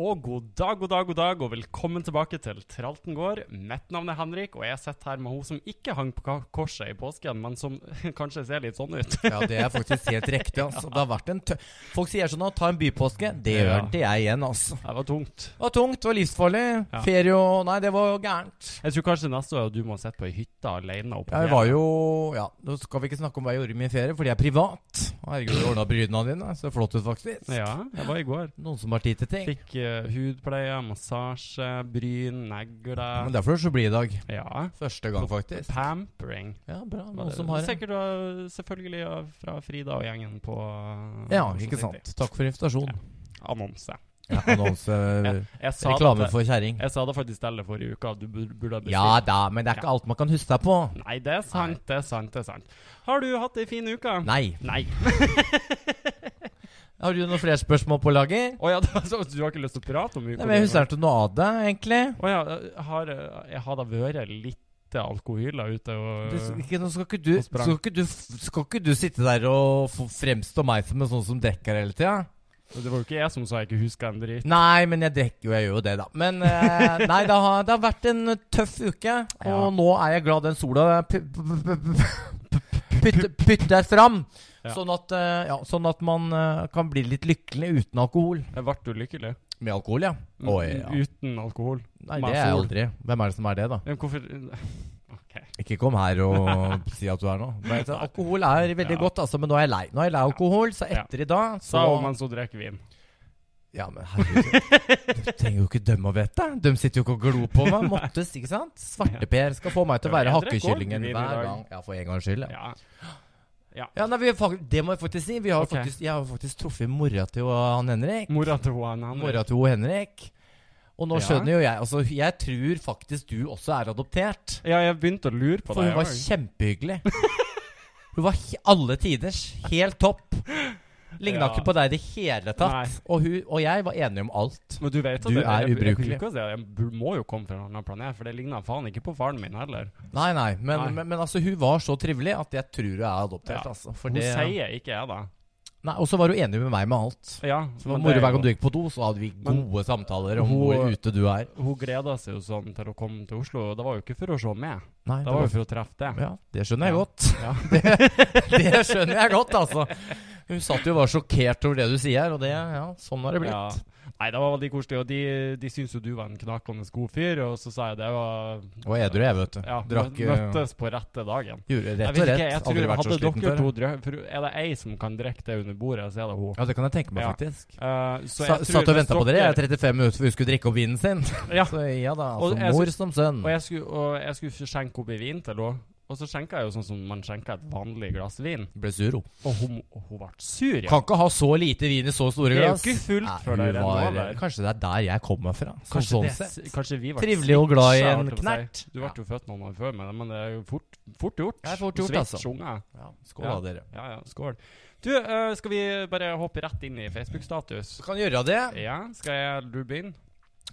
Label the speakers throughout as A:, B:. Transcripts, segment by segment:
A: Og god dag, god dag, god dag, og velkommen tilbake til Tralten gård. Mitt navn er Henrik, og jeg sitter her med hun som ikke hang på ka- korset i påsken, men som kanskje ser litt sånn ut.
B: Ja, det er faktisk helt riktig. Altså. Det har vært en tø Folk sier sånn nå, ta en bypåske. Det gjør
A: Ja.
B: ikke jeg igjen, altså.
A: Det var tungt.
B: Det var tungt, det var livsfarlig.
A: Ja.
B: Ferie og Nei, det var gærent.
A: Jeg tror kanskje neste år du må sitte på ei hytte alene. og på
B: Jeg
A: fjellet.
B: var jo Ja, nå skal vi ikke snakke om hva jeg gjorde i min ferie, fordi jeg er privat. Herregud, du ordna brynene dine. Så flott ut, faktisk.
A: Ja, jeg var i går.
B: Noen som har tid til ting.
A: Fikk eh, hudpleie, massasje, bryn, negler
B: Men derfor så blir det i dag.
A: Ja.
B: Første gang, faktisk.
A: Pampering.
B: Ja, bra.
A: var
B: Noen
A: det.
B: som har det.
A: Sikkert eh, selvfølgelig eh, fra Frida og gjengen på eh,
B: Ja,
A: Oslo
B: ikke
A: City.
B: sant. Takk for invitasjonen.
A: Annonse.
B: Ja, annonse
A: Jeg sa
B: Reklame
A: det, til-
B: for kjerring.
A: Jeg sa det faktisk til deg forrige uke, at du bur- burde ha bestilt.
B: Ja da, men det er ikke alt man kan huske seg på.
A: Nei, det er sant, det er sant, det er sant. Har du hatt ei en fin uke?
B: Nei.
A: Nei.
B: Har du noen flere spørsmål på lager?
A: Å ja, det var så- du har ikke lyst til å prate om uka?
B: Nei, men Jeg husker ikke noe av det, egentlig.
A: Å ja, jeg har, jeg har da vært litt alkohyler ute og
B: Det, ikke, nå skal, ikke du,
A: Og sprang.
B: skal, ikke du, skal ikke du sitte der og f- fremstå meg som en sånn som drikker hele tida?
A: Det var jo ikke jeg som sa jeg ikke huska en dritt.
B: Nei, men jeg drikker jo, jeg gjør jo det, da. Men eh, nei, det har, det har vært en tøff uke, og
A: Ja.
B: nå er jeg glad den sola p- p- p- p- pytter- pytter fram.
A: Ja.
B: Sånn, at, eh, ja, sånn at man eh, kan bli litt lykkelig uten alkohol.
A: Jeg ble du lykkelig?
B: Med alkohol, ja? Oi, ja.
A: Uten alkohol?
B: Nei,
A: Mm. med
B: det er jeg
A: sol.
B: aldri. Hvem er det som er det, da?
A: Men Hvorfor eh, OK.
B: Ikke kom her og si at du er noe. Men, så, alkohol er veldig
A: Ja.
B: godt, altså, men nå er jeg lei. Nå er jeg lei alkohol, så
A: Ja.
B: etter i dag så
A: Sa hun mens hun drikker vin.
B: Ja, men herregud. Du trenger jo ikke dem å vite. De sitter jo ikke og glor på meg. Måttes, ikke sant? Svarteper skal få meg til å
A: Ja,
B: være
A: jeg drikker
B: hakkekyllingen
A: ordentlig vin i
B: hver
A: dag.
B: gang. Ja, for en gangs skyld. Ja.
A: Ja.
B: Ja, nei, vi har fak- det må jeg faktisk si. Vi har
A: Ok.
B: faktisk, jeg har faktisk truffet mora til jo han Henrik.
A: Mora til hun Henrik.
B: Mora til jo Henrik. Og nå
A: Mm. Ja.
B: skjønner jo jeg Altså, jeg tror faktisk du også er adoptert.
A: Ja, jeg begynte å lure på
B: For
A: deg.
B: hun var
A: jeg også.
B: kjempehyggelig. Hun var he- alle tiders. Helt topp. Ligna
A: Ja.
B: ikke på deg i det hele tatt. Og, hun, og jeg var enige om alt.
A: Men du vet at
B: Du
A: jeg, jeg,
B: er
A: jeg,
B: ubrukelig.
A: bruker å si at jeg bur- må jo komme fra en annen planet, for det ligner faen ikke på faren min heller.
B: Nei, nei. Men,
A: Nei.
B: Men, men altså, hun var så trivelig at jeg tror hun er adoptert.
A: Ja.
B: Altså, for
A: Hun
B: det-
A: sier ikke jeg, da.
B: Nei, Og så var hun enig med meg med alt.
A: Ja,
B: Så det var
A: men
B: moro
A: det er
B: hver
A: jo-
B: gang du gikk på do, så hadde vi
A: Men
B: gode samtaler om
A: hun-
B: hvor ute du er.
A: Hun gleda seg jo sånn til å komme til Oslo. og Det var jo ikke for å se meg,
B: Nei,
A: det var jo for å treffe deg.
B: Ja, det skjønner jeg
A: Ja.
B: godt.
A: Ja.
B: Det, det skjønner jeg godt, altså. Hun satt jo og var sjokkert over det du sier, og det, ja, sånn har det blitt.
A: Ja. Nei, det var veldig koselig, og de, de syntes jo du var en knakende god fyr, og så sa jeg det var
B: Og edru, jeg, vet du.
A: Ja,
B: Drakk
A: mø-
B: eh,
A: møttes på rette dagen.
B: Gjorde
A: Jeg
B: rett
A: vet
B: og
A: ikke,
B: rett.
A: jeg
B: Aldri
A: tror
B: vært så
A: hadde
B: sliten
A: dere
B: før.
A: to drø- for Er det ei som kan drikke det under bordet, så er det hun.
B: Ja, det kan jeg tenke meg,
A: Ja.
B: faktisk.
A: Eh, så
B: Sa,
A: jeg tror
B: satt og
A: hvis
B: venta på dere jeg,
A: dere-
B: 35 minutter for hun skulle drikke opp vinen sin.
A: Ja,
B: Så ja da,
A: Og
B: altså
A: jeg
B: mor som sønn.
A: Og jeg skulle, og jeg skulle skjenke opp i vin til henne. Og så skjenka jeg jo sånn som man skjenker et vanlig glass vin.
B: Ble sur, hun.
A: Og hun, og hun ble sur, ja.
B: Kan ikke ha så lite vin i så store
A: Det er jo
B: glass.
A: ikke fullt
B: Nei,
A: for
B: hun
A: deg, den
B: var-
A: var der.
B: Kanskje det er der jeg kommer fra. Sånn,
A: Kanskje,
B: sånn
A: det,
B: sett.
A: kanskje vi ble
B: Trivelig og glad i
A: switcha,
B: en
A: holdt jeg på å si.
B: knert.
A: Du ble
B: Ja.
A: jo født noen år før meg, men det er jo fort, fort gjort.
B: Det er fort
A: Du
B: gjort, altså.
A: switcher unger.
B: Ja, skål
A: Ja.
B: da, dere.
A: Ja, ja, skål. Du, eh, skal vi bare hoppe rett inn i Facebook-status?
B: Du kan gjøre det.
A: Ja, skal jeg du begynne?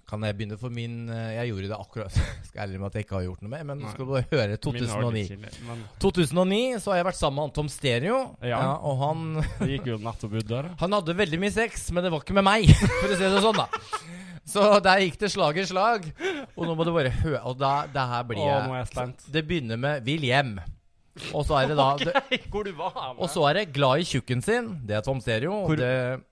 B: Kan jeg begynne for min eh, Jeg gjorde det akkurat. Skal ærlig med at jeg ikke har gjort noe mer, men nå
A: Nei.
B: skal du bare
A: Min har
B: høre
A: litt
B: 2009.
A: chili, Men
B: 2009 så har jeg vært sammen med Anton Stereo,
A: Ja.
B: ja, og han
A: det gikk jo nettopp ut døra.
B: Han hadde veldig mye sex, men det var ikke med meg, for å si det sånn, da. Så der gikk det slag i slag. Og nå må du bare høre Og da, det her blir
A: Å, nå er jeg spent.
B: Det begynner med 'vil hjem'. Og så er det da det,
A: Hvor du var med?
B: Og så er det 'glad i tjukken sin'. Det er Tom Stereo.
A: Hvor-
B: det,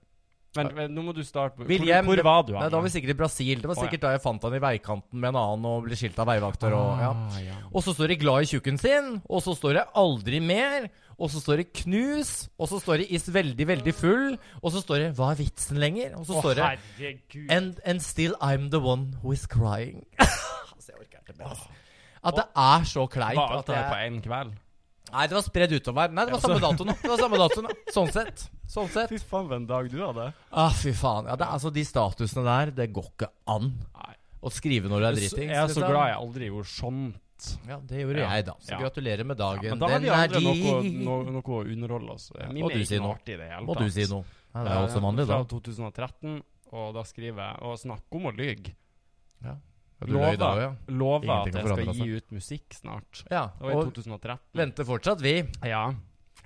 A: Men, men nå må du starte. på-
B: Vil
A: Hvor,
B: hjem-
A: hvor var du?
B: nei, da var vi sikkert i Brasil. Det var
A: Å, ja.
B: sikkert da jeg fant han i veikanten med en annen og ble skilt av veivakter. Og, ja.
A: Ah, ja.
B: og så står det 'glad i tjukken sin', og så står det 'aldri mer'. Og så står det 'knus', og så står det 'is veldig, veldig full', og så står det 'hva er vitsen lenger'? Og så
A: Å,
B: står det
A: herregud.
B: And, and still I'm the one who is crying. altså, jeg orker ikke mer. altså. At det er så kleint.
A: Var alt
B: At
A: det her på
B: jeg,
A: én kveld?
B: nei, det var spredd utover. Nei, det var samme dato nå. Det var samme dato nå. Sånn sett. Sånn sett.
A: Fy faen, for en dag du hadde.
B: Ah, fy faen. Ja, det, er altså, de statusene der, det går ikke an
A: Nei.
B: å skrive når du er dritings.
A: Jeg er så
B: liksom.
A: glad jeg aldri gjorde sånt.
B: Ja, det gjorde
A: Ja.
B: jeg, da. Så
A: Ja.
B: gratulerer med
A: Ja,
B: dagen.
A: men da har
B: Den
A: vi
B: er
A: andre noe,
B: din.
A: noe, noe å underholde oss.
B: Ja,
A: Min
B: må
A: er
B: du
A: ikke
B: si
A: noe
B: noe.
A: artig i det hele
B: Må du si noe? Nei, det er jo som vanlig, da.
A: Fra 2013, og da skriver jeg Og snakk om å lyge.
B: Ja, Du løy da òg, ja.
A: Lover
B: Ingenting
A: at jeg
B: har forandret
A: skal gi ut musikk snart.
B: Ja,
A: Det var i
B: og
A: 2013.
B: venter fortsatt, vi.
A: Ja.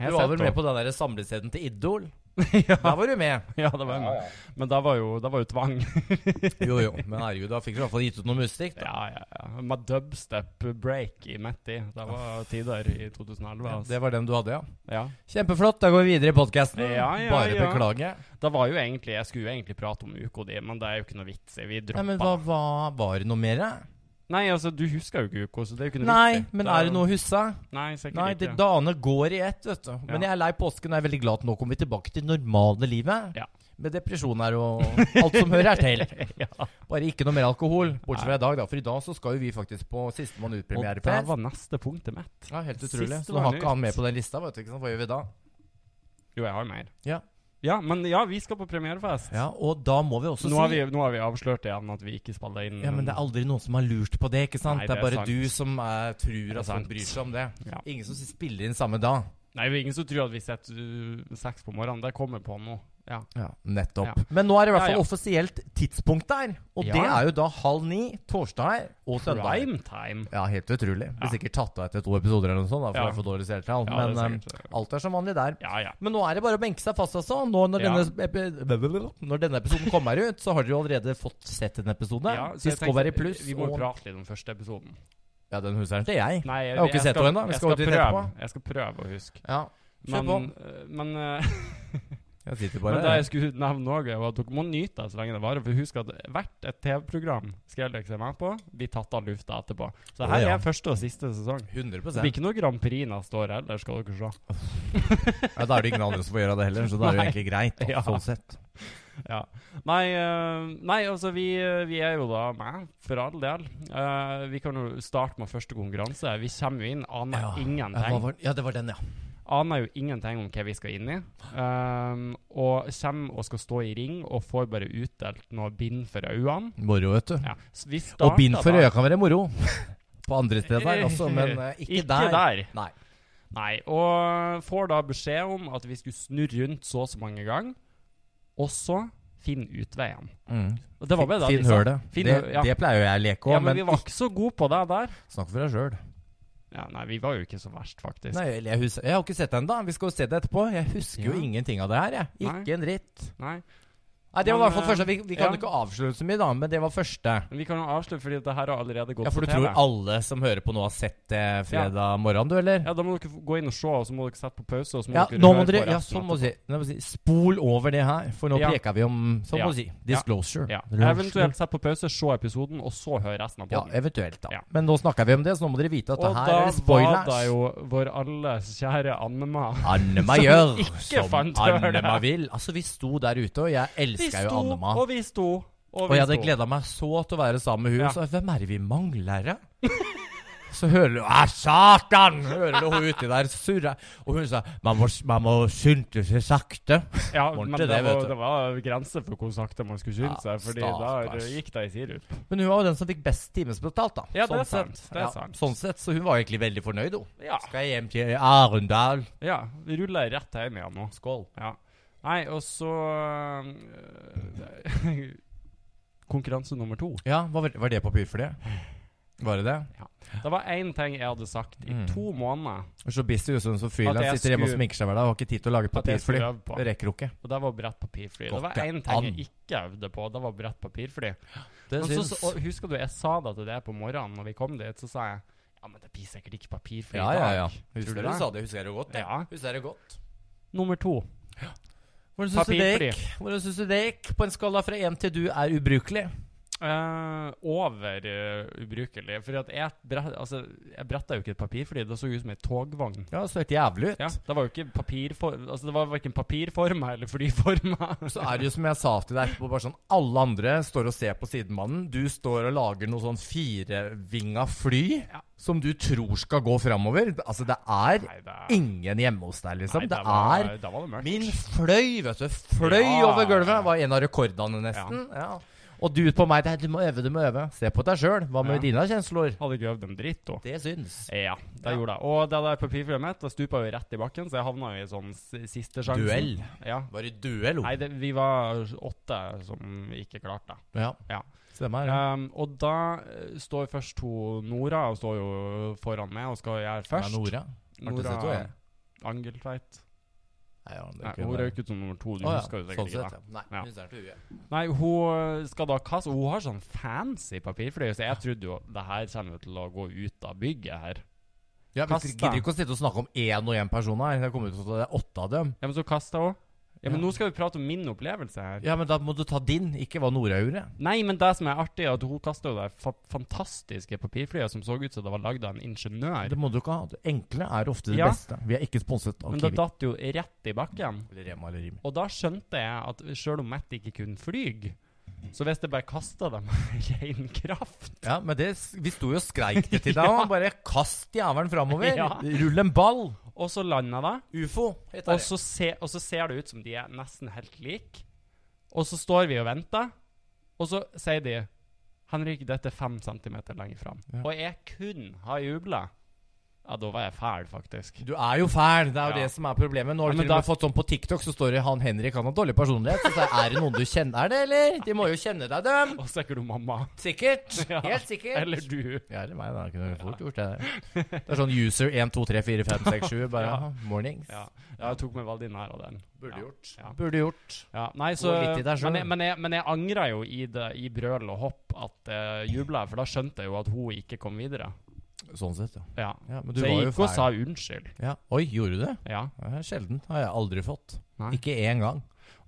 B: Du var vel med på den der samlescenen til Idol? Da var du med.
A: Ja, det var en. Men da var jo, da var jo tvang.
B: Jo, jo. Men herregud, da fikk du i hvert fall gitt ut noe musikk. da.
A: Ja, ja, ja. Med dubstep break i midt i. Det var tider i 2011.
B: Ja,
A: Altså.
B: det var den du hadde, ja.
A: Ja.
B: Kjempeflott. Da går vi videre i podkasten.
A: Ja, ja,
B: Bare
A: ja.
B: beklage.
A: Det var jo egentlig Jeg skulle jo egentlig prate om uka di, men det er jo ikke noe vits i. Vi
B: Nei,
A: droppa
B: men hva, hva var det noe mer? da?
A: Nei, altså, du husker jo ikke uka, så det er jo ikke noe
B: Nei,
A: vits i.
B: men er det noe å huske?
A: Nei, sikkert
B: Nei, det,
A: ikke.
B: dagene går i ett, vet du. Men jeg er lei påsken og jeg er veldig glad at nå kommer vi tilbake til normale livet.
A: Ja.
B: Med depresjoner og alt som hører til.
A: ja.
B: Bare ikke noe mer alkohol. Bortsett fra i dag, da. For i dag så skal jo vi faktisk på sistemann
A: Og det
B: ut-premierefest.
A: var neste punktet mitt.
B: Ja, helt utrolig.
A: Sistemann
B: Så nå har
A: ut.
B: ikke han med på den lista, vet du. Ikke sant? Hva gjør vi da?
A: Jo, jeg har mer.
B: Ja.
A: Ja, men ja, vi skal på premierefest.
B: Ja, og da må vi også
A: Nå har
B: si
A: vi, nå har vi avslørt igjen at vi ikke spiller inn
B: Ja, men det er aldri noen som har lurt på det, ikke sant?
A: Nei, det
B: det, er
A: er
B: bare
A: sant.
B: du som er,
A: Det
B: tror
A: er
B: at folk
A: sant.
B: bryr seg om det.
A: Ja.
B: Ingen som spiller inn samme dag.
A: Nei, det er ingen som tror at vi setter uh, seks på morgenen. Det kommer på nå. Ja.
B: Ja, nettopp.
A: Ja.
B: Men nå er det i hvert
A: Ja,
B: fall
A: ja.
B: offisielt tidspunkt der. Og
A: Ja.
B: det er jo da halv ni torsdag og søndag.
A: Prime time.
B: Ja, helt utrolig. Det
A: Ja.
B: er sikkert tatt av etter to episoder eller noe sånt, da, for
A: Ja.
B: det er for dårlig seertall.
A: Ja, det er
B: Men
A: sikkert det.
B: eh, alt er som vanlig der.
A: ja, ja.
B: Men nå er det bare å benke seg fast, altså. Nå når,
A: Ja.
B: denne, epi når denne episoden kommer ut, så har dere jo allerede fått sett en episode.
A: Ja, så jeg tenkte,
B: Discovery Pluss
A: Vi må jo
B: og
A: prate litt om første episoden.
B: Ja, den huseren til jeg.
A: Nei,
B: Jeg har ikke sett henne ennå. Vi
A: jeg
B: skal jo til den
A: prøve,
B: etterpå.
A: jeg skal prøve å huske.
B: Ja. Kjør
A: Men, eh, men, eh,
B: Jeg sitter
A: men
B: bare
A: det jeg skulle nevne også var at dere må nyte det så lenge det varer. For husk at hvert et TV-program Skrellex er med på, blir tatt av lufta etterpå. Så
B: Å,
A: her
B: ja.
A: er første og siste sesong.
B: 100
A: Det blir ikke noe Grand Prix neste år heller, skal dere se.
B: ja, Da er det ingen andre som får gjøre det heller, så da er det jo
A: Nei.
B: egentlig greit. Da,
A: Ja.
B: sånn sett.
A: Ja. Nei, eh, nei altså vi, vi er jo da med, for all del. Eh, vi kan jo starte med første konkurranse. Vi kommer jo inn, aner
B: Ja, Ja, hva
A: ingenting.
B: var, ja, det var den, ja.
A: Aner jo ingenting om hva vi skal inn i. Um, og kommer og skal stå i ring og får bare utdelt noe bind for øynene.
B: Moro, vet du.
A: Ja. så vi
B: Og bind for
A: starter da-
B: øya kan være moro. På andre steder også, men eh, ikke,
A: Ikke
B: der.
A: der.
B: Nei.
A: Nei, og får da beskjed om at vi skulle snu rundt så og så mange ganger, og så finne utveien.
B: Mm.
A: Og det var bare det
B: Finn
A: vi sa.
B: hølet.
A: Finn
B: det,
A: hø- ja.
B: det pleier jo jeg å leke òg,
A: Ja, men
B: men,
A: vi var ikke så gode på det der.
B: snakk for deg sjøl.
A: Ja, nei, vi var jo ikke så verst, faktisk.
B: Nei, eller jeg, husker, jeg har ikke sett det ennå. Vi skal jo se det etterpå. Jeg husker jo
A: Ja.
B: ingenting av det her. Jeg.
A: Nei.
B: Ikke en dritt.
A: Nei.
B: Nei, det var i
A: Men, eh,
B: hvert fall første. Vi, vi
A: ja.
B: kan jo ikke avsløre så mye, da, men det var første.
A: Men vi kan jo avslutte, fordi det her har allerede gått
B: Ja, For
A: på
B: du
A: TV.
B: tror alle som hører på nå, har sett det fredag morgen, du, eller?
A: Ja, da må dere f- gå inn og se, og så må dere sette på pause, og så må
B: Ja,
A: dere
B: nå
A: høre
B: må dere
A: på
B: ja,
A: resten
B: sånn må du
A: etterpå.
B: si, nå må du si Spol over det her, for nå
A: Ja.
B: preker vi om Sånn
A: Ja.
B: må du si. Disclosure.
A: Ja.
B: Disclosure.
A: Eventuelt sett på pause, se episoden, og så hør resten av
B: Ja,
A: podden.
B: eventuelt, da.
A: Ja.
B: Men nå snakker vi om det, så nå må dere vite at det
A: og
B: her
A: da
B: er
A: var
B: spoilers.
A: det jo vår alles kjære Annema.
B: Annema
A: Som
B: gjør
A: ikke
B: som
A: fant hølet.
B: Annema vil. Altså, vi sto der ute, og jeg
A: Vi
B: elska jo
A: sto,
B: Annema.
A: og vi sto, og
B: Og
A: vi
B: jeg hadde
A: sto.
B: gleda meg så til å være sammen med hun.
A: Ja.
B: Så hvem er det vi mangler, da? Så hører du Æ, satan! Hører du hun uti der surre. Og hun sa man må, man må skynde seg sakte.
A: Ja,
B: Ordentlig
A: men det,
B: det, vet
A: var,
B: du.
A: det var grenser for hvor sakte man skulle skynde
B: Ja,
A: seg, fordi
B: stakkars.
A: da gikk det i sirup.
B: Men hun var jo den som fikk best timesbetalt, da.
A: Ja, det er sant,
B: sett.
A: det er
B: Ja,
A: sant.
B: Sånn sett, så hun var egentlig veldig fornøyd, hun.
A: Ja,
B: Skal jeg hjem til Arendal?
A: ja. Vi ruller rett hjem igjen nå.
B: Skål.
A: Ja. Nei, og så øh, Konkurranse nummer to.
B: Ja, hva var, var det papir for det? Var det det?
A: Det var én ting jeg hadde sagt i
B: Mm.
A: to måneder
B: Og så busy ut som
A: At
B: frilans,
A: jeg
B: sitter hjemme og
A: skulle-
B: sminker seg hver dag, har ikke tid til å lage
A: at jeg
B: papirfly.
A: skulle øve på.
B: Det rekker jo ikke.
A: Og det var brett papirfly. Det
B: Godt
A: var
B: det
A: én ting
B: an.
A: jeg ikke øvde på, det var brett papirfly.
B: Det
A: Men så,
B: syns
A: så, og husker du, jeg sa det til deg på morgenen når vi kom dit, så sa jeg ja, men det blir sikkert ikke papirfly
B: Ja,
A: i
B: ja,
A: dag.
B: ja.
A: Tror du
B: Husker du
A: det?
B: sa det? Husker jeg det godt? jeg.
A: Ja.
B: Husker jeg det godt?
A: Nummer to.
B: Hvordan
A: syns
B: syns
A: du
B: du
A: det
B: det
A: Papirfly.
B: gikk? Hvordan syns du det gikk? På en skala fra én til du er ubrukelig.
A: Eh, over eh, ubrukelig. For at jeg, brett, altså, jeg bretta jo ikke et papirfly, det så ut som ei togvogn.
B: Ja, så helt jævlig ut.
A: Ja, det var jo ikke papirfor... Altså, det var hverken papirforma eller flyforma.
B: Så er det jo som jeg sa til deg etterpå, bare sånn alle andre står og ser på sidemannen. Du står og lager noe sånn firevinga fly
A: Ja.
B: som du tror skal gå framover. Altså, det er
A: Nei, det
B: ingen hjemme hos deg, liksom.
A: nei,
B: det,
A: var,
B: er
A: Da var det mørkt.
B: Min fløy, vet du. Fløy
A: Ja.
B: over gulvet. Var en av rekordene, nesten. Ja. Og du på meg. «Nei, Du må øve, du må øve. Se på deg sjøl. Hva med
A: Ja.
B: dine kjensler?
A: Hadde ikke øvd en dritt, da.
B: Det syns.
A: Ja, det
B: Ja.
A: gjorde jeg. Og det der papirflyet mitt, det stupa jo rett i bakken, så jeg havna jo i sånn s- siste sjansen.
B: Duell. Oh.
A: Ja.
B: Var i duell,
A: Nei, det, vi var åtte som ikke klarte det.
B: Ja.
A: Ja.
B: Stemmer. Ja.
A: Um, og da eh, står først to Nora og står jo foran meg og skal gjøre
B: Først.
A: først.
B: Nora. Artig å se to, jeg.
A: Angeltveit.
B: Nei, ja, det
A: Nei,
B: kunne
A: hun
B: være-
A: røyk ut som nummer to. Du
B: Å, ja.
A: husker jo
B: Sånn
A: sikkert
B: sett,
A: ikke
B: ja.
A: det.
B: Nei,
A: Ja.
B: hun ser til huet.
A: Nei, hun skal da kaste Hun har sånn fancy papirfløye, så jeg trodde jo det her kommer jo til å gå ut av bygget her.
B: Ja, vi
A: Kasta.
B: gidder ikke å sitte og snakke om én og én person her. Det kommer ut til at det er åtte av dem.
A: Ja, men så kasta hun. Ja, men
B: Ja.
A: nå skal vi prate om min opplevelse her.
B: Ja, men da må du ta din, ikke hva Nora gjorde.
A: Nei, men det som er artig, er at hun kasta jo det fa fantastiske papirflyet som så ut som det var lagd av en ingeniør.
B: Det må du ikke ha. Det enkle er ofte det
A: Ja.
B: beste. Vi er ikke sponset av
A: Men det
B: Kiwi.
A: datt jo rett i bakken.
B: Eller Rema eller Rimi.
A: Og da skjønte jeg at sjøl om Matt ikke kunne fly, så hvis jeg bare kasta dem med ren kraft
B: Ja, men det, vi sto jo og skreik det til deg òg. Bare kast jævelen framover.
A: Ja.
B: Rull en ball.
A: Og så landa det.
B: Ufo.
A: Og så, se, og så ser det ut som de er nesten helt like. Og så står vi og venter, og så sier de Henrik, dette er fem centimeter lenger fram.
B: Ja.
A: Og jeg kun har jubla. Ja, da var jeg fæl, faktisk.
B: Du er jo fæl. Det er jo
A: Ja.
B: det som er problemet. Nå har
A: Ja,
B: du
A: men
B: til
A: da-
B: og med fått sånn på TikTok, så står det han Henrik, han har dårlig personlighet. Så sier jeg, er det noen du kjenner, er det, eller? De må jo kjenne deg, dem.
A: Og så er ikke du mamma.
B: Sikkert.
A: Ja.
B: Helt sikkert.
A: Eller du.
B: Ja, det er meg, da. Jeg Kunne fort gjort det. Det er sånn user 1, 2, 3, 4, 5, 6, 7. Bare
A: Ja.
B: mornings.
A: Ja. ja, jeg tok meg veldig nær av den. Ja.
B: gjort.
A: Ja.
B: Burde gjort.
A: Ja, nei, så,
B: Gå litt i deg selv.
A: men, jeg, men, jeg, men jeg angra jo i, det, i brøl og hopp at jeg jubla, for da skjønte jeg jo at hun ikke kom videre.
B: Sånn sett, ja.
A: Ja.
B: ja men du
A: Så jeg
B: var jo
A: gikk og
B: fæl.
A: sa unnskyld.
B: Ja. Oi, gjorde du det?
A: Ja.
B: Ja, Sjelden. Har jeg aldri fått.
A: Nei.
B: Ikke én gang.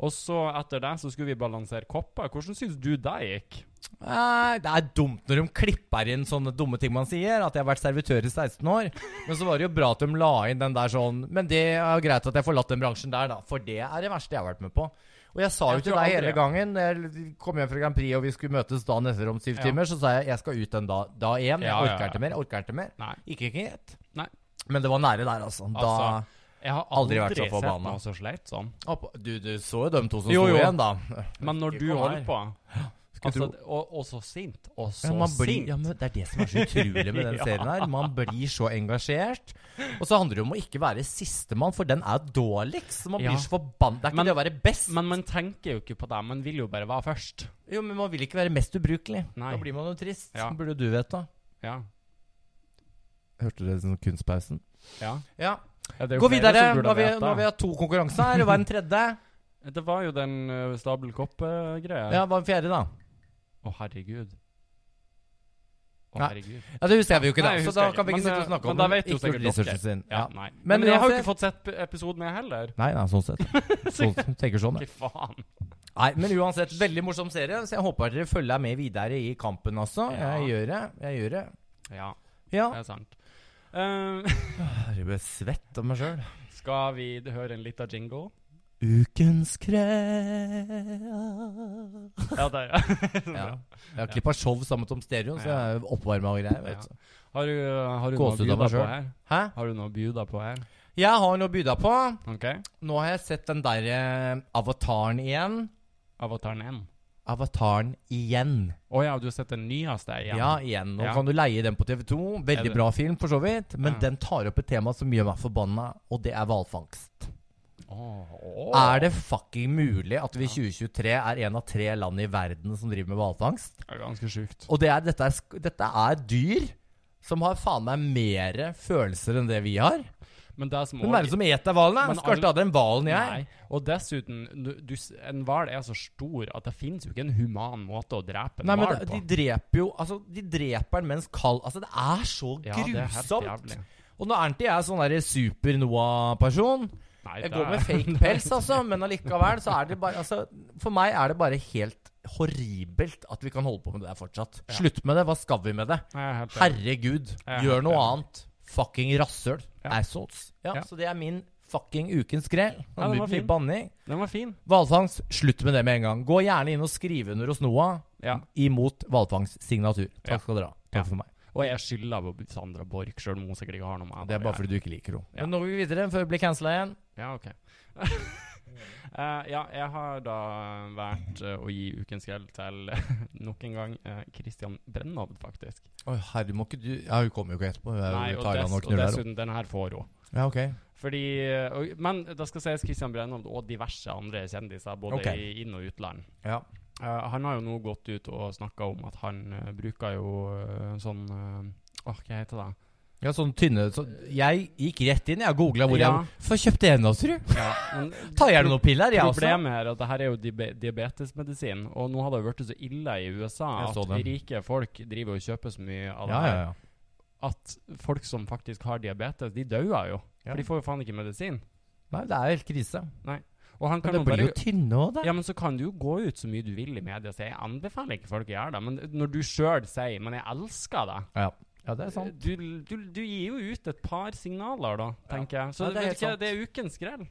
A: Og så etter det så skulle vi balansere kopper. Hvordan syns du det gikk?
B: Nei, det er dumt når de klipper inn sånne dumme ting man sier. At jeg har vært servitør i 16 år. Men så var det jo bra at de la inn den der sånn Men det er jo greit at jeg har forlatt den bransjen der, da. For det er det verste jeg har vært med på. Og jeg sa jo
A: Jeg
B: til
A: tror
B: deg
A: aldri
B: hele
A: jeg-
B: gangen da jeg kom hjem fra Grand Prix og vi skulle møtes dagen etter om syv
A: Ja.
B: timer, så sa jeg jeg skal ut den da, da igjen. Jeg
A: Ja, ja,
B: orker
A: ja.
B: ikke mer. Jeg orker ikke mer.
A: Nei.
B: Ikke greit.
A: Nei.
B: Men det var nære der, altså. Da
A: Altså, Jeg har aldri,
B: Aldri vært så
A: sett
B: forbanna.
A: noe så sleit sånn.
B: Opp- Du, du så jo dem to som
A: Jo,
B: sto
A: jo.
B: igjen, da.
A: Men når
B: Ikke
A: du
B: kom
A: holder
B: her.
A: på
B: Skulle
A: altså,
B: tro-
A: og, og så sint. Og så
B: Ja, man blir,
A: sint.
B: ja, men det er det som er så utrolig med den
A: Ja.
B: serien her. Man blir så engasjert. Og så handler det om å ikke være sistemann, for den er dårligst. Så man
A: Ja.
B: blir så forbanna. Det er ikke
A: Men-
B: det å være best,
A: Men man tenker jo ikke på det. Man vil jo bare være først.
B: jo, men man vil ikke være mest ubrukelig.
A: Nei.
B: Da blir man jo trist.
A: Ja.
B: Burde du vite.
A: Ja.
B: Hørte du den kunstpausen?
A: ja.
B: Ja.
A: Ja, det er jo
B: Gå
A: flere
B: videre.
A: som burde
B: Nå har vi,
A: vite.
B: nå har vi hatt to konkurranser her, og hva er den tredje?
A: Det var jo den uh, stabelkopp-greia. Å,
B: Ja, hva er den fjerde, da?
A: herregud. Å,
B: Nei.
A: herregud.
B: Ja, Det husker jeg jo ikke, da.
A: Nei, jeg
B: Så
A: husker
B: da
A: ikke.
B: kan vi ikke
A: Men,
B: sitte og
A: eh,
B: snakke
A: men
B: om
A: da
B: den.
A: vet jo
B: Ikke gjort
A: sikkert
B: researchen sin.
A: Ja,
B: Ja.
A: nei. Men,
B: Men
A: jeg har jo
B: uansett-
A: ikke fått sett p- episoden, jeg heller.
B: Nei, nei, sånn sett. Sånn, tenker sånn, ja.
A: Hva faen?
B: Nei, men uansett, veldig morsom serie, så jeg håper dere følger med videre i kampen også.
A: Ja.
B: Jeg gjør det. Jeg gjør det.
A: Ja,
B: Ja.
A: det er sant. Eh,
B: Jeg blir svett av meg sjøl.
A: Skal vi d- høre en liten jingle?
B: Ukens krev.
A: Ja, der, ja.
B: Ja. Jeg har klippa show sammen med Tom Stereo, så jeg er oppvarma og greier. Vet du.
A: Har du, har du noe å
B: Gåsehud
A: bjuda
B: av meg
A: på
B: selv.
A: her?
B: Hæ?
A: Har du noe å bjuda på her?
B: Jeg har noe å by deg på.
A: Ok,
B: Nå har jeg sett den derre avataren igjen.
A: Avataren 1.
B: Avataren igjen.
A: Å ja, du har sett den nyeste igjen?
B: Ja, igjen. Nå
A: Ja.
B: kan du leie den på TV2.
A: Er
B: Veldig
A: det-
B: bra film, for så vidt. Men
A: Ja.
B: den tar opp et tema som gjør meg forbanna, og det er hvalfangst.
A: Åh, åh.
B: Er det fucking mulig at vi i 2023 er en av tre land i verden som driver med hvalfangst?
A: Det er ganske sjukt.
B: Og det er, dette, er, sk- dette er dyr som har faen meg mere følelser enn det vi har.
A: Men det som
B: Hvem er det som eter hvalen?
A: Men
B: Skulle
A: alle-
B: ikke hatt den hvalen, jeg.
A: Nei. Og dessuten, du, du, s- en hval er så stor at det finnes jo ikke en human måte å drepe en
B: Nei, men
A: hval
B: da-
A: på.
B: de dreper jo Altså, de dreper den mens kald Altså, det er så grusomt! og nå er ikke jeg sånn derre super-Noah-person.
A: Nei,
B: Jeg
A: det
B: går med
A: er-
B: fake pels, altså, men allikevel så er det bare altså, For meg er det bare helt horribelt at vi kan holde på med det der fortsatt.
A: Ja.
B: Slutt med det. Hva skal vi med det?
A: Nei, jeg er helt enig.
B: Herregud,
A: Ja,
B: gjør
A: helt
B: noe
A: enig.
B: annet. Fucking rasshøl.
A: Ja.
B: Assholes. Ja,
A: Ja.
B: Så det er min fucking ukens grell.
A: Ja, den var
B: Mye
A: fin.
B: banning.
A: Den var fin.
B: Hvalfangst, slutt med det med en gang. Gå gjerne inn og skriv under hos Noah
A: Ja.
B: imot hvalfangstsignatur.
A: Ja.
B: Takk skal dere ha. Takk
A: Ja.
B: for meg.
A: Og jeg skylder på Sandra Borch, sjøl om hun sikkert ikke har noe med
B: Det er
A: å
B: bare
A: gjøre.
B: fordi du ikke liker henne.
A: Ja.
B: Men nå går vi videre før vi blir cancela igjen.
A: Ja, ok. Eh, ja, jeg har da vært eh, å gi ukens gjeld til nok en gang eh, Christian Brennov, faktisk.
B: Oi, herre, må ikke du Ja, hun kommer jo ikke etterpå. Hun er jo i
A: og,
B: Thailand
A: dess,
B: og
A: og
B: knuller.
A: dessuten, den her får hun.
B: Ja, ok.
A: Fordi, eh, og, men det skal sies Christian Brennov og diverse andre kjendiser, både
B: Ok.
A: i inn- og utland.
B: Ja.
A: Eh, han har jo nå gått ut og snakka om at han eh, bruker jo eh, sånn eh, Åh, hva heter det?
B: Ja, sånn tynne så Jeg gikk rett inn. Jeg googla hvor
A: Ja.
B: jeg Få kjøpt endagsrud.
A: Ja, men
B: Ta gjerne altså. noen piller, jeg også.
A: Problemet er at det her er jo diabe- diabetesmedisin, og nå har det jo blitt så ille i USA
B: Jeg
A: at
B: så det.
A: rike folk driver og kjøper så mye av det
B: Ja, ja,
A: her
B: ja.
A: at folk som faktisk har diabetes, de dauer jo.
B: Ja.
A: For de får jo faen ikke medisin.
B: Nei, det er helt krise.
A: Og han
B: Men
A: kan
B: det
A: jo
B: blir
A: bare
B: jo tynne òg, da.
A: Ja, men så kan du jo gå ut så mye du vil i media, så jeg anbefaler ikke folk å gjøre det. Men når du sjøl sier 'men jeg elsker deg',
B: Ja, det er sant.
A: du, du, du gir jo ut et par signaler da, tenker jeg. Så
B: Ja, det er
A: det,
B: helt
A: ikke,
B: sant.
A: det er ukens grell.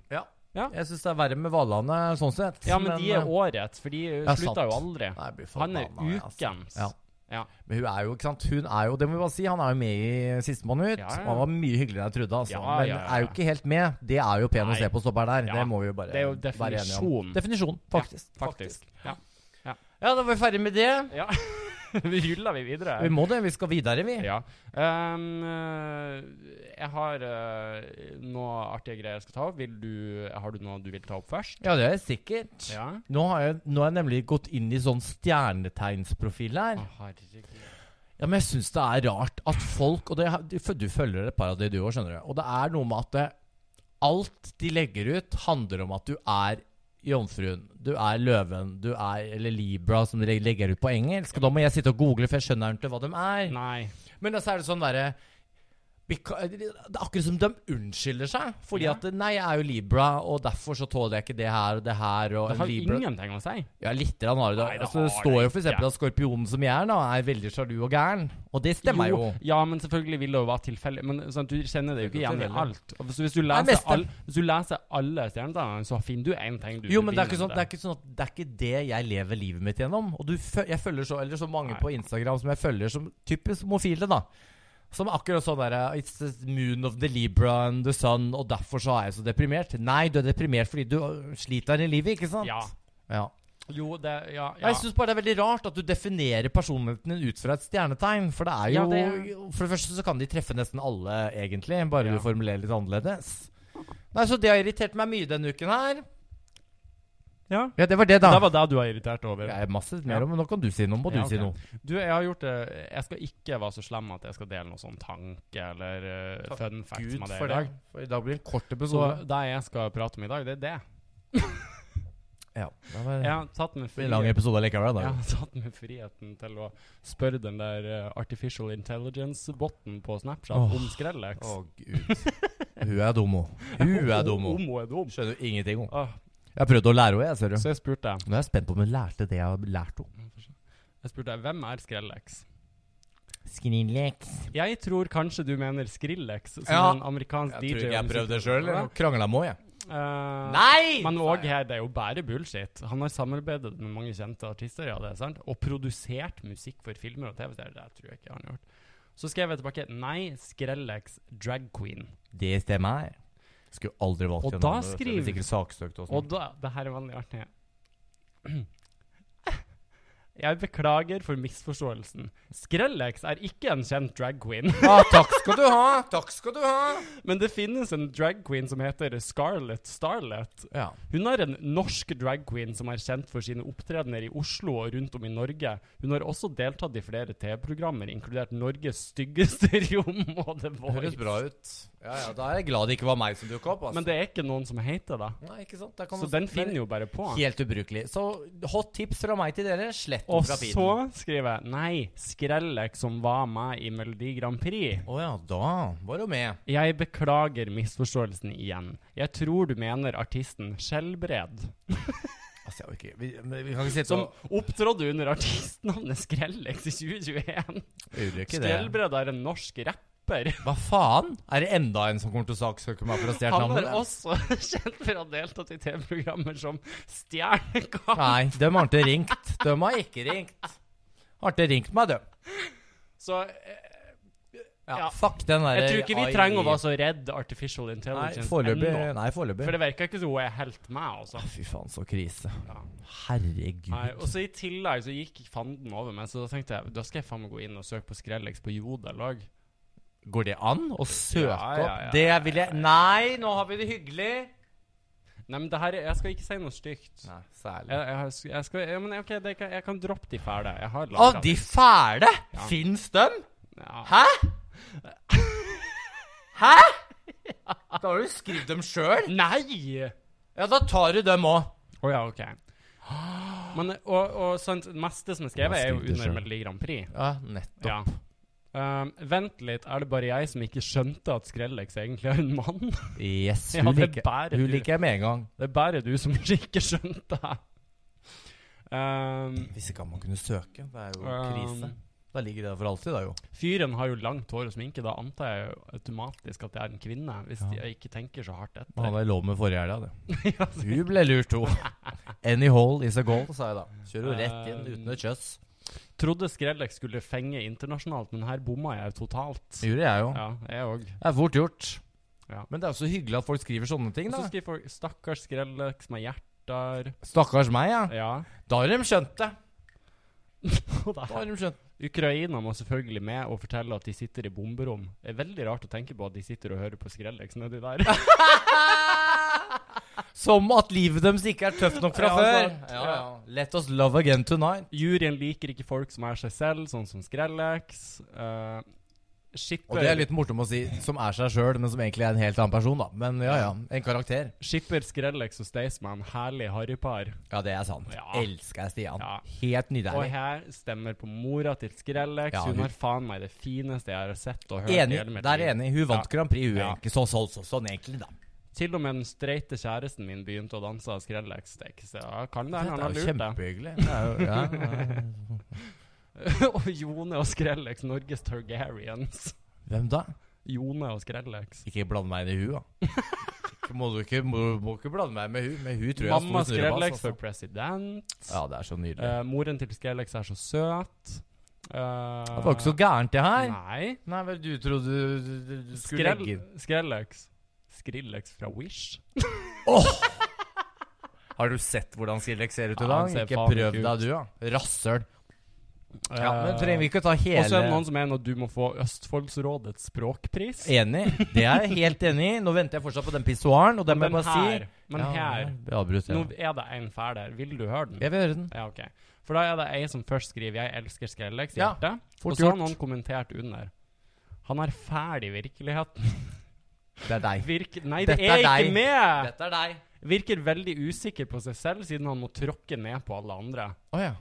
B: Jeg syns det er verre med Valane sånn sett.
A: Ja, men, de
B: eh,
A: er årets, for de
B: Ja,
A: slutter jo
B: sant.
A: aldri.
B: Nei, jeg blir
A: Han er
B: forbanna, jeg, altså.
A: ukens.
B: Ja.
A: Ja.
B: Men hun er jo, ikke sant Hun er jo, det må vi bare si, han er jo med i Sistemann ut.
A: Ja, ja.
B: Og Han var mye hyggeligere enn jeg trodde, altså.
A: Ja,
B: men
A: ja, ja.
B: er jo ikke helt med. Det er jo pen
A: Nei.
B: å se på stopper der.
A: Ja.
B: Det må vi jo bare
A: Det er jo
B: være enige om.
A: definisjon,
B: Definisjon, faktisk.
A: faktisk. Ja.
B: Ja, da var vi ferdig med det.
A: ja. vi hyller vi videre.
B: Vi må det. Vi skal videre, vi.
A: Ja. Ehm, eh, jeg har eh, noe artige greier jeg skal ta opp. Vil du, har du noe du vil ta opp først?
B: Ja, det er sikkert.
A: Ja.
B: Nå, har jeg, nå har jeg nemlig gått inn i sånn stjernetegnsprofil
A: Å,
B: her.
A: herregud.
B: Ja, men jeg syns det er rart at folk Og det, har- du fø- du følger et par av de du òg, skjønner du. Og det er noe med at det, alt de legger ut, handler om at du er jomfruen. Du er løven. Du er Eller Libra, som de legger ut på engelsk. Og da må jeg sitte og google, for jeg skjønner ikke hva de er.
A: Nei.
B: Men så er det sånn derre beca- Det er akkurat som de unnskylder seg. Fordi
A: Ja.
B: at 'Nei, jeg er jo Libra, og derfor så tåler jeg ikke det her og det her', og
A: Det har
B: Libra
A: ingenting å si.
B: Ja, litt rann har det.
A: Nei, det
B: altså, det
A: har
B: står
A: det
B: jo f.eks.
A: ikke.
B: at skorpionen som jeg er, da, er veldig sjalu og gæren. Og det stemmer jo.
A: Ja, men selvfølgelig vil det jo være tilfeldig. Men sånn, du kjenner det jo ikke igjen i
B: Tilfeldig.
A: alt. Og hvis, hvis, du
B: Nei,
A: leser
B: mest-
A: all, hvis du leser alle stjernetegnene, så finner du én ting du
B: Jo, men det er, ikke
A: forbinder
B: sånn,
A: med
B: det er ikke sånn at det er ikke det jeg lever livet mitt gjennom. Og du, fø- jeg følger så, eller så mange
A: Nei.
B: på Instagram som jeg følger som typisk homofile, da. Som er akkurat sånn derre It's the moon of the Libra and the sun, og derfor så er jeg så deprimert. Nei, du er deprimert fordi du øh, sliter i livet, ikke sant?
A: Ja.
B: Ja.
A: Jo, det Ja. ja.
B: Jeg syns bare det er veldig rart at du definerer personligheten din ut fra et stjernetegn. For det er
A: Ja,
B: jo
A: det
B: For det første så kan de treffe nesten alle, egentlig. Bare
A: Ja.
B: du formulerer litt annerledes. Nei, Så det har irritert meg mye denne uken her.
A: ja.
B: Ja, det var det, da.
A: Det var det du er irritert over.
B: Jeg er masse mer om, men nå kan du si noe. Må du
A: Ja, ok.
B: si noe?
A: Du, jeg har gjort det Jeg skal ikke være så slem at jeg skal dele noe sånn tanke eller eh,
B: Takk
A: fun facts
B: Gud
A: med deg
B: for
A: i
B: det.
A: dag.
B: For I dag blir det en kort
A: Så
B: episode.
A: det jeg skal prate om i dag, det er det.
B: ja, det var
A: Jeg har tatt meg
B: en lang
A: friheten,
B: episode likevel.
A: jeg
B: Da.
A: har tatt meg friheten til å spørre den der eh, artificial intelligence-botten på Snapchat
B: Åh.
A: om Skrellex.
B: Å, gud. Hun er dummo. Hun er dummo.
A: Homo er dum.
B: Skjønner jo ingenting om.
A: Åh,
B: Jeg prøvde å lære henne, jeg, ser du.
A: så jeg spurte
B: Nå er jeg spent på om hun lærte det jeg har lært henne.
A: Jeg spurte hvem er Skrellex?
B: Skrinleks.
A: Jeg tror kanskje du mener Skrillex, som
B: Ja.
A: en amerikansk
B: Jeg
A: DJ.
B: tror ikke jeg
A: og
B: prøvde det
A: musikk-
B: sjøl.
A: Ja.
B: Krangla må jeg.
A: Eh,
B: Nei!
A: Men òg her, det er jo bare bullshit. Han har samarbeidet med mange kjente artister, ja, det er sant, og produsert musikk for filmer og TV-serier. Det tror jeg ikke han har gjort. Så skrev jeg tilbake nei, Skrellex drag queen.
B: Det stemmer. Skulle aldri valgt
A: Og
B: gjennom
A: da
B: det, vet du.
A: skriver-
B: Det er Sikkert saksøkt og
A: Og
B: sånn.
A: da Det her er veldig artig. Jeg beklager for misforståelsen. Skrellex er ikke en kjent drag queen,
B: Ah, takk skal du ha! Takk skal du ha!
A: men det finnes en drag queen som heter Scarlett Starlet.
B: Ja.
A: Hun er en norsk drag queen som er kjent for sine opptredener i Oslo og rundt om i Norge. Hun har også deltatt i flere TV-programmer, inkludert Norges styggeste rom og The Voice.
B: Høres bra ut. Ja, ja, Da er jeg glad det ikke var meg som dukka opp. Altså.
A: Men det er ikke noen som heter det.
B: Nei, ikke sant? Der kan
A: Så
B: man-
A: den finner jo bare på.
B: Helt ubrukelig. Så hot tips fra meg til dere. Slett den
A: Og
B: fra feeden.
A: så skriver jeg Nei, Skrellek som var med i Melodi Grand Prix.
B: Å ja, da var hun med.
A: Jeg beklager misforståelsen igjen. Jeg tror du mener artisten Skjelbred,
B: Altså, jeg har ikke Vi, men vi kan ikke sitte
A: som
B: og
A: opptrådte under artistnavnet Skrellex i 2021.
B: Gjør jo ikke det.
A: Skjelbred er en norsk rapper.
B: Hva faen? Er det enda en som kommer til å saksøke meg for å ha stjålet
A: Han
B: navnet?
A: er også kjent for å ha deltatt i TV-programmer som Stjernekamp.
B: Nei, de har ikke ringt. De har ikke ringt. Har ikke ringt meg, de.
A: Så eh,
B: Ja,
A: Ja.
B: Fuck den der eh,
A: jeg tror ikke vi
B: AI.
A: trenger å være så redd artificial
B: Nei,
A: intelligence
B: foreløpig.
A: ennå.
B: Nei, foreløpig.
A: For det virker ikke som hun er helt med, altså.
B: Å, Fy faen, så krise.
A: Ja.
B: Herregud.
A: Nei, og så I tillegg så gikk fanden over meg, så da tenkte jeg da skal jeg faen meg gå inn og søke på Skrellex på Jodel òg.
B: Går det an å søke
A: Ja, ja, ja,
B: opp Det vil jeg Nei, nå har vi det hyggelig!
A: Nei, men det her er- Jeg skal ikke si noe stygt.
B: Nei,
A: Jeg,
B: særlig.
A: jeg, har- jeg skal ja, Men OK, det kan, jeg kan droppe de fæle. Jeg har
B: Å, de fæle!
A: Ja.
B: Fins dem?
A: Ja.
B: Hæ? Hæ?! Da har du skrevet dem sjøl!
A: Nei!
B: Ja, da tar du dem òg.
A: Å ja, OK. Men, og, og sant, meste som er skrevet, er jo
B: Jeg har skrevet det
A: under
B: selv.
A: Melodi Grand Prix.
B: Ja, nettopp.
A: Ja. Um, vent litt, er det bare jeg som ikke skjønte at Skrellex egentlig er en mann?
B: Yes,
A: Ja,
B: hun,
A: det
B: liker,
A: bærer
B: hun
A: du.
B: liker jeg med en gang.
A: Det er bare du som ikke skjønte det. Um,
B: Hvis ikke han må kunne søke. Det er jo krise.
A: um,
B: Da ligger det der for alltid, da jo.
A: fyren har jo langt hår og sminke, da antar jeg jo automatisk at det er en kvinne. Hvis
B: Ja.
A: jeg ikke tenker så hardt
B: Men han
A: etter.
B: var i lov med forrige helg, da.
A: Ja,
B: det. Hun ble lurt, hun. Any hole is a goal, sa jeg da. Kjører jo rett inn
A: Um,
B: uten et kjøss.
A: Trodde Skrellex skulle fenge internasjonalt, men her bomma jeg totalt.
B: Det gjorde jeg jo.
A: Ja, jeg òg.
B: Det er fort gjort.
A: Ja.
B: Men det er jo så hyggelig at folk skriver sånne ting,
A: Og så
B: da.
A: skriver folk 'stakkars Skrellex med hjerter'.
B: Stakkars meg, ja.
A: Ja.
B: Da har de skjønt det.
A: Og der.
B: Da har de skjønt det.
A: Ukraina må selvfølgelig med og fortelle at de sitter i bomberom. Det er veldig rart å tenke på at de sitter og hører på Skrellex nedi der.
B: Som at livet deres ikke er tøft nok fra
A: Ja,
B: før.
A: sant.
B: Ja, ja. Let us love again tonight.
A: Juryen liker ikke folk som er seg selv, sånn som Skrellex. Eh,
B: Og det er
A: skipper,
B: litt morsomt å si som er seg sjøl, men som egentlig er en helt annen person, da. Men ja, ja. En karakter.
A: skipper Skrellex og Staysman herlig harrypar.
B: Ja, det er sant.
A: Ja.
B: Elsker jeg Stian.
A: Ja.
B: Helt
A: Og
B: nydelig.
A: her stemmer på mora til Skrellex.
B: Ja,
A: hun,
B: hun-
A: har faen meg det fineste jeg har sett og hørt. i
B: Enig.
A: hele mitt
B: Der er jeg
A: liv.
B: enig. Hun vant
A: Ja.
B: Grand Prix, hun.
A: Ja.
B: er Ikke så, så, så, sånn egentlig, da.
A: Til og med den streite kjæresten min begynte å danse av Skrellex. Det er ikke så ja, kan det hende han har
B: jo
A: lurt deg.
B: kjempehyggelig. Det er jo- ja, ja.
A: og Jone og Skrellex, Norges Targaryens.
B: Hvem da?
A: Jone og Skrellex.
B: Ikke blande meg inn i hun, da. Ikke- Må du ikke, må, må ikke blande meg med hun. Med hun tror jeg har
A: Mamma
B: stor snurrebass,
A: Skrellex
B: altså.
A: for president.
B: Ja, det er så nydelig.
A: Eh, moren til Skrellex er så søt. Eh,
B: det var ikke så gærent, det her.
A: Nei.
B: Nei, hva du trodde du, du- du, du skulle
A: Skrell
B: legge inn?
A: Skrellex. Skrillex fra Wish.
B: Har du sett hvordan Skrillex ser ut i
A: Ja,
B: dag?
A: han ser
B: Ikke
A: faen
B: prøv
A: ikke
B: deg, du, da. Rasshøl. Ja, men
A: Eh,
B: trenger vi ikke å ta hele
A: Og så er det noen som mener at du må få Østfoldsrådets språkpris.
B: Enig. Det er jeg helt enig i. Nå venter jeg fortsatt på den pissoaren, og den må jeg
A: men
B: bare
A: her,
B: si
A: men
B: Ja,
A: her
B: jeg avbryter,
A: Nå
B: ja.
A: er det en fæl der. Vil du høre den?
B: Jeg vil høre den.
A: Ja, ok. For da er det ei som først skriver 'Jeg elsker Skrellex' i
B: Ja,
A: hjertet.
B: Fort
A: og så har
B: gjort.
A: noen kommentert under. Han er fæl i virkeligheten.
B: Det er deg.
A: Virk Nei, det
B: Dette
A: er,
B: er
A: ikke
B: deg.
A: med!
B: Dette er deg.
A: Virker veldig usikker på seg selv, siden han må tråkke ned på alle andre.
B: Å ja.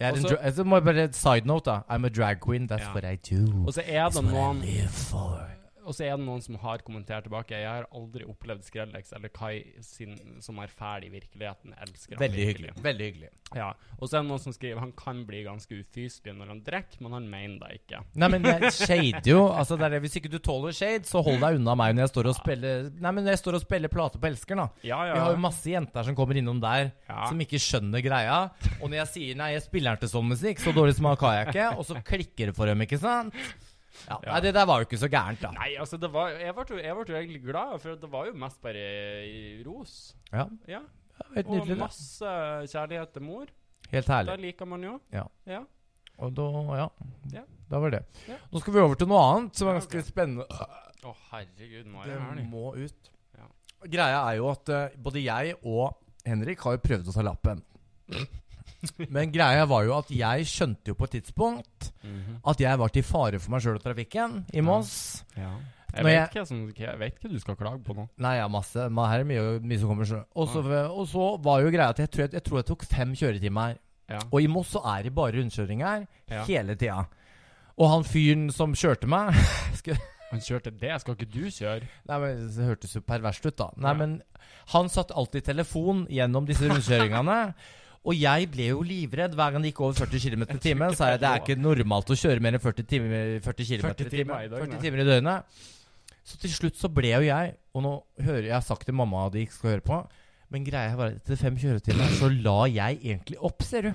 B: Jeg er
A: Og
B: en
A: så-
B: dra altså, må jeg bare side note, da. I'm a drag queen. That's
A: Ja.
B: what I do.
A: Og så er
B: That's
A: det
B: what
A: noen
B: I live for.
A: Og så er det noen som har kommentert tilbake. Jeg har aldri opplevd Skrellex eller Kai sin, som er fæl i virkeligheten. Jeg Elsker han
B: Veldig
A: virkelig.
B: hyggelig. Veldig hyggelig.
A: Ja. Og så er det noen som skriver han kan bli ganske ufyselig når han drikker, men han mener det ikke.
B: Nei, men jeg shader jo. Altså, det er det. Hvis ikke du tåler shade, så hold deg unna meg når jeg står og spiller Nei, men når jeg står og spiller plate på Elskeren, da.
A: Ja, ja.
B: Vi har jo masse jenter som kommer innom der,
A: Ja.
B: som ikke skjønner greia. Og når jeg sier 'nei, jeg spiller ikke sånn musikk', så dårlig smak har jeg ikke, og så klikker det for dem, ikke sant? Ja,
A: Ja.
B: Nei, det der var jo ikke så gærent, da.
A: Nei, altså, det var, jeg, ble, jo- jeg ble jo egentlig glad, for det var jo mest bare i ros.
B: Ja,
A: Ja.
B: Helt
A: Og
B: nydelig. Det.
A: masse kjærlighet til mor.
B: Helt
A: Da
B: herlig.
A: liker man jo.
B: Ja.
A: ja.
B: Og da Ja.
A: Ja.
B: Da var det.
A: Ja.
B: Nå skal vi over til noe annet som er
A: Ja,
B: ganske
A: ok.
B: spennende.
A: Å, herregud, nå er
B: Det
A: jeg herlig.
B: må ut.
A: Ja.
B: Greia er jo at eh, både jeg og Henrik har jo prøvd å ta lappen. Men greia var jo at jeg skjønte jo på et tidspunkt
A: Mhm.
B: at jeg var til fare for meg sjøl og trafikken i Moss.
A: ja.
B: Når
A: Jeg,
B: jeg-
A: vet hva som, jeg vet ikke hva du skal klage på nå.
B: Nei, ja, masse. Men her er mye, mye som kommer sjøl. Og, så- og så var jo greia at jeg tror jeg, jeg tror jeg tok fem kjøretimer.
A: Ja.
B: Og i Moss så er det bare rundkjøringer
A: Ja.
B: hele tida. Og han fyren som kjørte meg skal-
A: Han kjørte det, skal ikke du kjøre?
B: Nei, men Det hørtes jo perverst ut, da. Nei,
A: Ja.
B: men Han satt alltid telefon gjennom disse rundkjøringene. Og jeg ble jo livredd hver gang det gikk over 40 km i timen. Sa jeg det er ikke normalt å kjøre mer enn 40, timer, 40 km
A: 40 timer
B: i
A: i
B: timen.
A: døgnet.
B: 40 timer i døgnet. Så til slutt så ble jo jeg Og nå hører jeg har sagt til mamma at de ikke skal høre på, men greia var at etter fem kjøretimer så la jeg egentlig opp, ser du.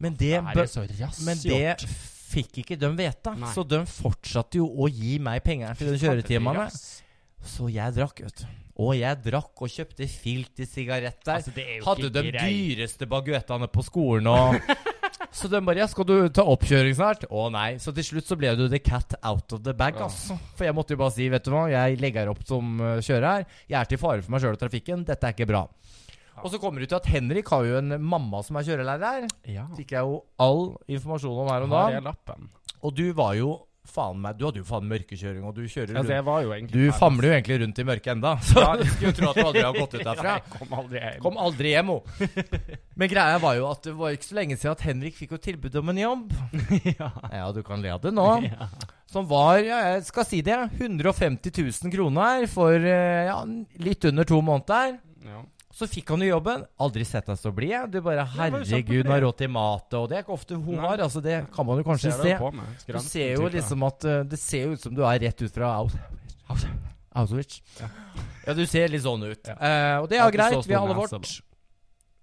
B: Men det,
A: Her
B: bø-
A: er så rass
B: men
A: gjort.
B: det fikk ikke de vite.
A: Nei.
B: Så de fortsatte jo å gi meg penger til de kjøretimene.
A: Rass.
B: Så jeg drakk, vet du. Og jeg drakk og kjøpte filt i sigaretter.
A: Altså, det er jo
B: Hadde
A: ikke
B: de
A: greit.
B: dyreste baguettene på skolen og Så de bare ja, 'Skal du ta oppkjøring snart?' Å nei. Så til slutt så ble det jo the cat out of the bag,
A: Ja.
B: altså. For jeg måtte jo bare si 'Vet du hva, jeg legger opp som uh, kjører her. Jeg er til fare for meg sjøl og trafikken. Dette er ikke bra'. Og så kommer det ut at Henrik har jo en mamma som er kjørelærer.
A: Ja.
B: Fikk jeg jo all informasjon om her om
A: Her er
B: dagen.
A: lappen.
B: Og du var jo faen meg Du hadde jo faen mørkekjøring, og du kjører
A: Altså,
B: rundt
A: jeg var jo egentlig
B: Du famler jo egentlig rundt i mørket enda, så du skulle tro at du aldri har gått ut derfra.
A: Jeg kom aldri hjem.
B: Kom aldri hjem, ho! Men greia var jo at det var ikke så lenge siden at Henrik fikk jo tilbud om en jobb.
A: ja.
B: Ja, du kan le av det nå. Som var, ja, jeg skal si det, 150 000 kroner for eh, ja, litt under to måneder.
A: Ja.
B: Så fikk han jo jobben. Aldri sett deg så blid. jeg. Du bare
A: Ja, men kjempe
B: Herregud,
A: blid.
B: hun har råd til mat. Og det er ikke ofte hun
A: Nei.
B: har. Altså, det kan man jo
A: Ser
B: kanskje
A: du
B: se.
A: på meg?
B: Du
A: Skranten
B: ser jo
A: tykker.
B: liksom at eh, Det ser jo ut som du er rett ut fra Aus- Aus- Auschwitz.
A: Ja.
B: Ja, du ser litt sånn ut.
A: Ja.
B: Eh, og det er
A: At
B: jo
A: du
B: greit.
A: så
B: Vi har
A: stor
B: alle
A: nese,
B: vårt.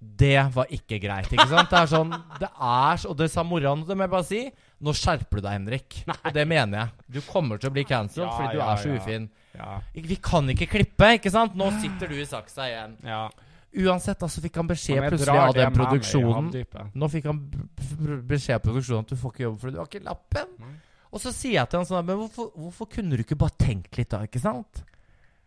B: Det var ikke greit, ikke sant? Det er sånn Det er så Og det sa moran, det må jeg bare si. Nå skjerper du deg, Henrik. Og det mener jeg. Du kommer til å bli cancelled
A: Ja,
B: fordi du
A: ja,
B: er så
A: ja.
B: ufin.
A: Ja.
B: Vi kan ikke klippe, ikke sant? Nå sitter du i saksa igjen.
A: ja.
B: Uansett, da, så fikk han beskjed
A: Men jeg
B: plutselig
A: drar
B: av
A: det
B: den
A: med meg i
B: produksjonen.
A: havdypet.
B: Nå fikk han b- b- beskjed av produksjonen at du får ikke jobb fordi du har ikke lappen.
A: Nei.
B: Og så sier jeg til han sånn Men hvorfor, hvorfor kunne du ikke bare tenkt litt, da? Ikke sant?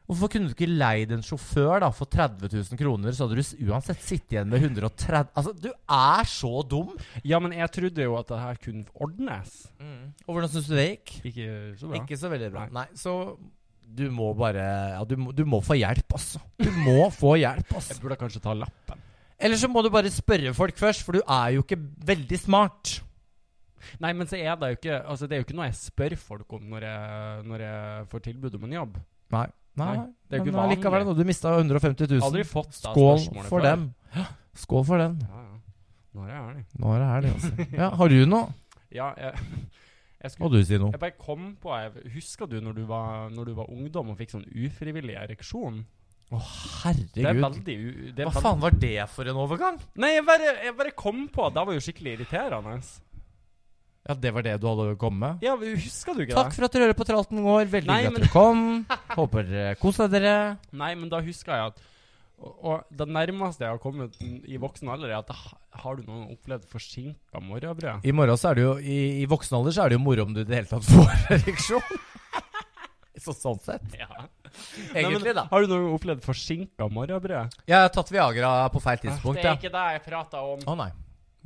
B: Hvorfor kunne du ikke leid en sjåfør da for 30 000 kroner, så hadde du s- uansett sittet igjen med 130 Altså, du er så dum!
A: Ja, men jeg trodde jo at det her kunne ordnes.
B: Og hvordan syns du det gikk?
A: Mm. Ikke så bra.
B: Ikke så veldig bra.
A: Nei.
B: Nei, så du må bare Ja, du må, du må få hjelp, altså. Du må få hjelp, altså.
A: Jeg burde kanskje ta lappen.
B: Eller så må du bare spørre folk først, for du er jo ikke veldig smart.
A: Nei, men så er det jo ikke Altså, det er jo ikke noe jeg spør folk om når jeg, når jeg får tilbud om en jobb. Nei, det er jo ikke
B: men
A: vanlig.
B: likevel, da, du mista 150 000.
A: Aldri fått da
B: Skål
A: spørsmålet
B: for
A: før.
B: dem. Skål for den.
A: Ja, ja. Når jeg er det.
B: Nå er det her, det, altså. Ja, har du noe?
A: Ja, jeg, jeg
B: Må
A: skulle
B: du si noe?
A: Jeg bare kom på jeg, Husker du når du var, når du var ungdom og fikk sånn ufrivillig ereksjon? Det er
B: Herregud.
A: veldig u... Det er
B: Hva
A: veld-
B: faen var det for en overgang?
A: Nei, jeg bare, jeg bare kom på at det var jo skikkelig irriterende.
B: Ja, det var det du hadde å komme med?
A: Ja, men husker du ikke
B: Takk
A: det?
B: for at dere hører på Tralten går. Veldig
A: Nei,
B: hyggelig
A: men-
B: at dere kom. Håper dere koser dere.
A: Nei, men da husker jeg at og, og det nærmeste jeg har kommet n- i voksen alder, er at ha- har du noen opplevd forsinka morgenbrød?
B: I morgen så er det jo I, i voksen alder så er det jo moro om du i det hele tatt får ereksjon. Så, sånn sett.
A: Ja.
B: Egentlig, da.
A: Har du noen gang opplevd forsinka morgenbrød?
B: Jeg har tatt Viagra på feil tidspunkt,
A: det
B: ja.
A: er ikke det jeg prata om.
B: Å nei.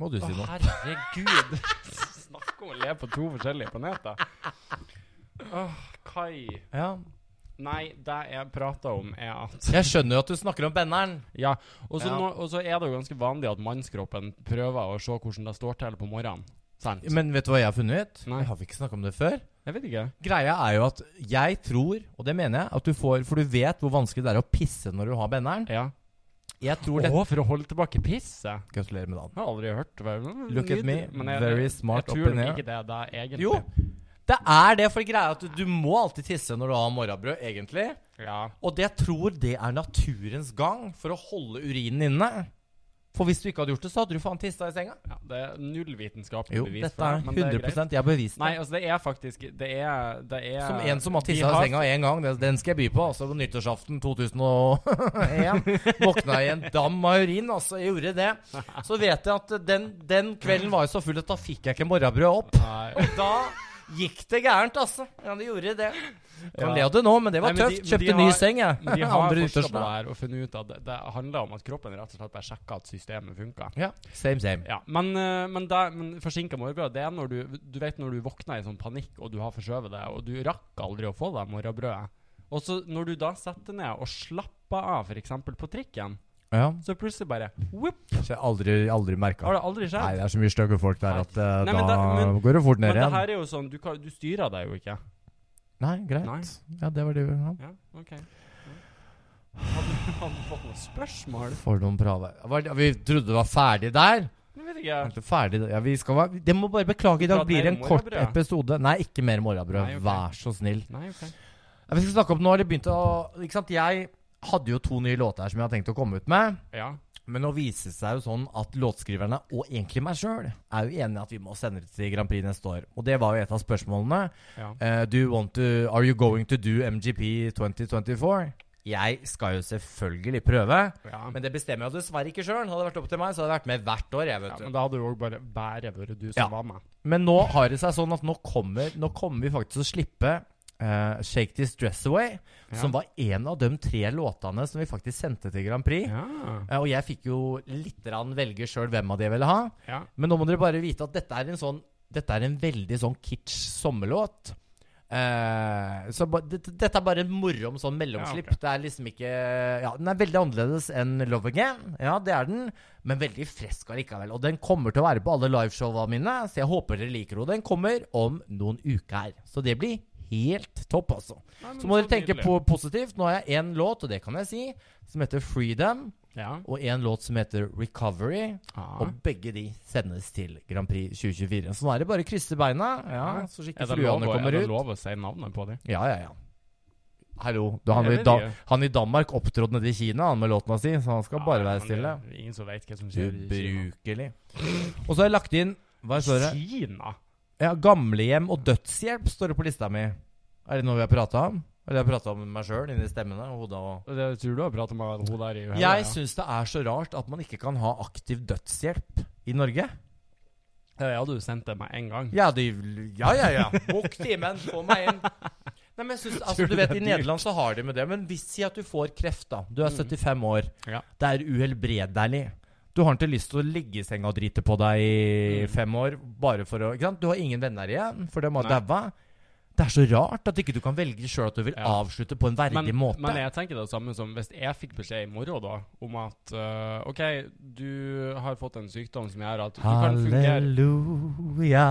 B: Må du si
A: Å,
B: noe?
A: herregud! Snakk om å leve på to forskjellige planeter. Åh, Kai.
B: Ja.
A: Nei, det jeg prater om, er at
B: Jeg skjønner jo at du snakker om benneren.
A: Ja, og så
B: Ja.
A: nå- og så er det jo ganske vanlig at mannskroppen prøver å se hvordan det står til på morgenen. Sant?
B: Men vet du hva jeg har funnet ut?
A: Nei.
B: Jeg har vi ikke snakket om det før.
A: jeg vet ikke.
B: Greia er jo at jeg tror, og det mener jeg, at du får For du vet hvor vanskelig det er å pisse når du har benneren.
A: Ja.
B: Jeg tror det
A: Å, for å holde tilbake pisset?
B: Gratulerer med dagen.
A: Jeg har aldri hørt det. men-
B: Look at me,
A: men jeg-
B: very smart
A: Jeg
B: up in
A: tror nok
B: here.
A: ikke det er det, egentlig.
B: Jo, det er det, for greia er at du, du må alltid tisse når du har morgenbrød, egentlig.
A: Ja.
B: Og det jeg tror det er naturens gang for å holde urinen inne. For hvis du ikke hadde gjort det, så hadde du faen tissa i senga.
A: ja. Det er null vitenskapelig
B: Jo,
A: bevis
B: dette er
A: men det greit.
B: 100 Jeg har bevist
A: Nei,
B: det.
A: altså, det er faktisk Det er, det er
B: Som en som har
A: vi
B: tissa i senga én gang, den- den skal jeg by på. Altså på nyttårsaften 2001. Våkna i en dam av urin, altså. Jeg gjorde det. Så vet jeg at den, den kvelden var jeg så full at da fikk jeg ikke morgenbrød opp.
A: Nei.
B: Og da gikk det gærent, altså. Ja, det gjorde det. Kan
A: Ja.
B: le av det nå, men det var
A: Nei, men de-
B: tøft.
A: men de
B: Kjøpte ny
A: har-
B: seng, jeg.
A: Men de har
B: Andre
A: forska på det
B: nyttårsdag.
A: her og funnet ut at det, det handler om at kroppen rett og slett bare sjekker at systemet funker.
B: Ja, same, same.
A: Ja, men, eh, men, det- men forsinka morgenbrød, det er når du Du vet når du våkner i sånn panikk, og du har forskjøvet det, og du rakk aldri å få deg morgenbrødet. Og så når du da setter ned og slapper av, f.eks. på trikken,
B: Ja.
A: så plutselig bare whoop,
B: Så jeg har aldri, aldri merka.
A: har det aldri
B: Nei,
A: skjedd.
B: det er så mye stygge folk der at eh,
A: Nei, men
B: da
A: det- men-
B: går det fort
A: Men
B: ned
A: det
B: igjen.
A: her er jo sånn Du, kan, du styrer deg jo ikke.
B: Nei, greit.
A: Nei.
B: Ja, det var det vi ja.
A: Ja, OK. Ja. Hadde hadde du fått noen spørsmål?
B: For noen prave. Var det- Vi trodde det var ferdig der.
A: Jeg vet ikke.
B: Ikke Ferdig ja, vi skal være Det må bare beklage, i dag
A: Skal vi
B: blir det en
A: prate mer om
B: kort
A: morgenbrød?
B: episode. Nei, ikke mer morgenbrød.
A: Nei, ok.
B: Vær så snill.
A: Nei, OK.
B: Ja, vi skal snakke om Nå har det begynt å Ikke sant, jeg hadde jo to nye låter her som jeg hadde tenkt å komme ut med.
A: Ja.
B: Men nå viser det seg jo sånn at låtskriverne, og egentlig meg sjøl, er jo enige at vi må sende det til Grand Prix neste år. Og det var jo et av spørsmålene.
A: ja.
B: Eh, do you want to Are you going to do MGP 2024? Jeg skal jo selvfølgelig prøve,
A: ja.
B: men det bestemmer jeg jo dessverre ikke sjøl. Hadde det vært opp til meg, så hadde jeg vært med hvert år, jeg,
A: Ja,
B: vet
A: men
B: du.
A: da hadde jo òg bare bare vært du som
B: Ja.
A: var med.
B: Men nå har det seg sånn at nå kommer, nå kommer vi faktisk til å slippe eh, Shake This Dress Away,
A: Ja.
B: som var en av de tre låtene som vi faktisk sendte til Grand Prix.
A: Ja.
B: Eh, Og jeg fikk jo litt rann velge sjøl hvem av de jeg ville ha.
A: ja.
B: Men nå må dere bare vite at dette er en sånn Dette er en veldig sånn kitsch sommerlåt. Eh, så ba, dette, dette er bare en morsom sånn mellomslipp.
A: Ja, ok.
B: Det er liksom ikke Ja, Den er veldig annerledes enn Love Again. Ja, det er den. Men veldig fresk allikevel. Og den kommer til å være på alle liveshowene mine, så jeg håper dere liker henne. Den kommer om noen uker. Så det blir helt topp, altså.
A: Nei, men
B: Så må
A: så
B: dere tenke
A: nydelig.
B: på positivt. Nå har jeg én låt, og det kan jeg si, som heter Freedom.
A: Ja.
B: Og én låt som heter Recovery.
A: Ah.
B: Og begge de sendes til Grand Prix 2024. Så nå er det bare å krysse beina. Ja, så
A: Er
B: ikke
A: det, lov,
B: fluene
A: å- er
B: kommer
A: det
B: ut.
A: lov å si navnet på dem?
B: Ja, ja, ja. Hallo. Du, han,
A: Jeg
B: i
A: vet
B: da,
A: ikke.
B: han i Danmark opptrådte nede i Kina han med låtene si, så han skal bare være stille.
A: Ingen som vet hva som skjer i Kina.
B: Ubrukelig. Og så har jeg lagt inn Hva står det?
A: Kina?
B: Ja, Gamlehjem og dødshjelp står det på lista mi. Er det noe vi har prata om? Eller jeg har prata om meg sjøl inni stemmene og hodet og
A: Det tror du har pratet med hun der i hodet?
B: Jeg syns det er så rart at man ikke kan ha aktiv dødshjelp i Norge.
A: ja. ja, du sendte meg en gang.
B: Ja, de, ja, ja. ja. Våk timen, få meg inn. Nei, men jeg synes, altså,
A: Tror
B: du
A: du
B: vet,
A: det er Mm.
B: I Nederland så har de med det, men hvis si at du får kreft, da. Du er 75 år.
A: Ja.
B: Det er uhelbredelig. Du har ikke lyst til å ligge i senga og drite på deg i
A: Mm.
B: fem år bare for å ikke sant? Du har ingen venner igjen, for de har
A: Nei.
B: daua. Det er så rart at ikke du kan velge sjøl at du vil
A: Ja.
B: avslutte på en verdig
A: Men,
B: måte.
A: men jeg tenker det samme som hvis jeg fikk beskjed i morgen da, om at eh, OK, du har fått en sykdom som gjør at du kan fungere
B: Halleluja.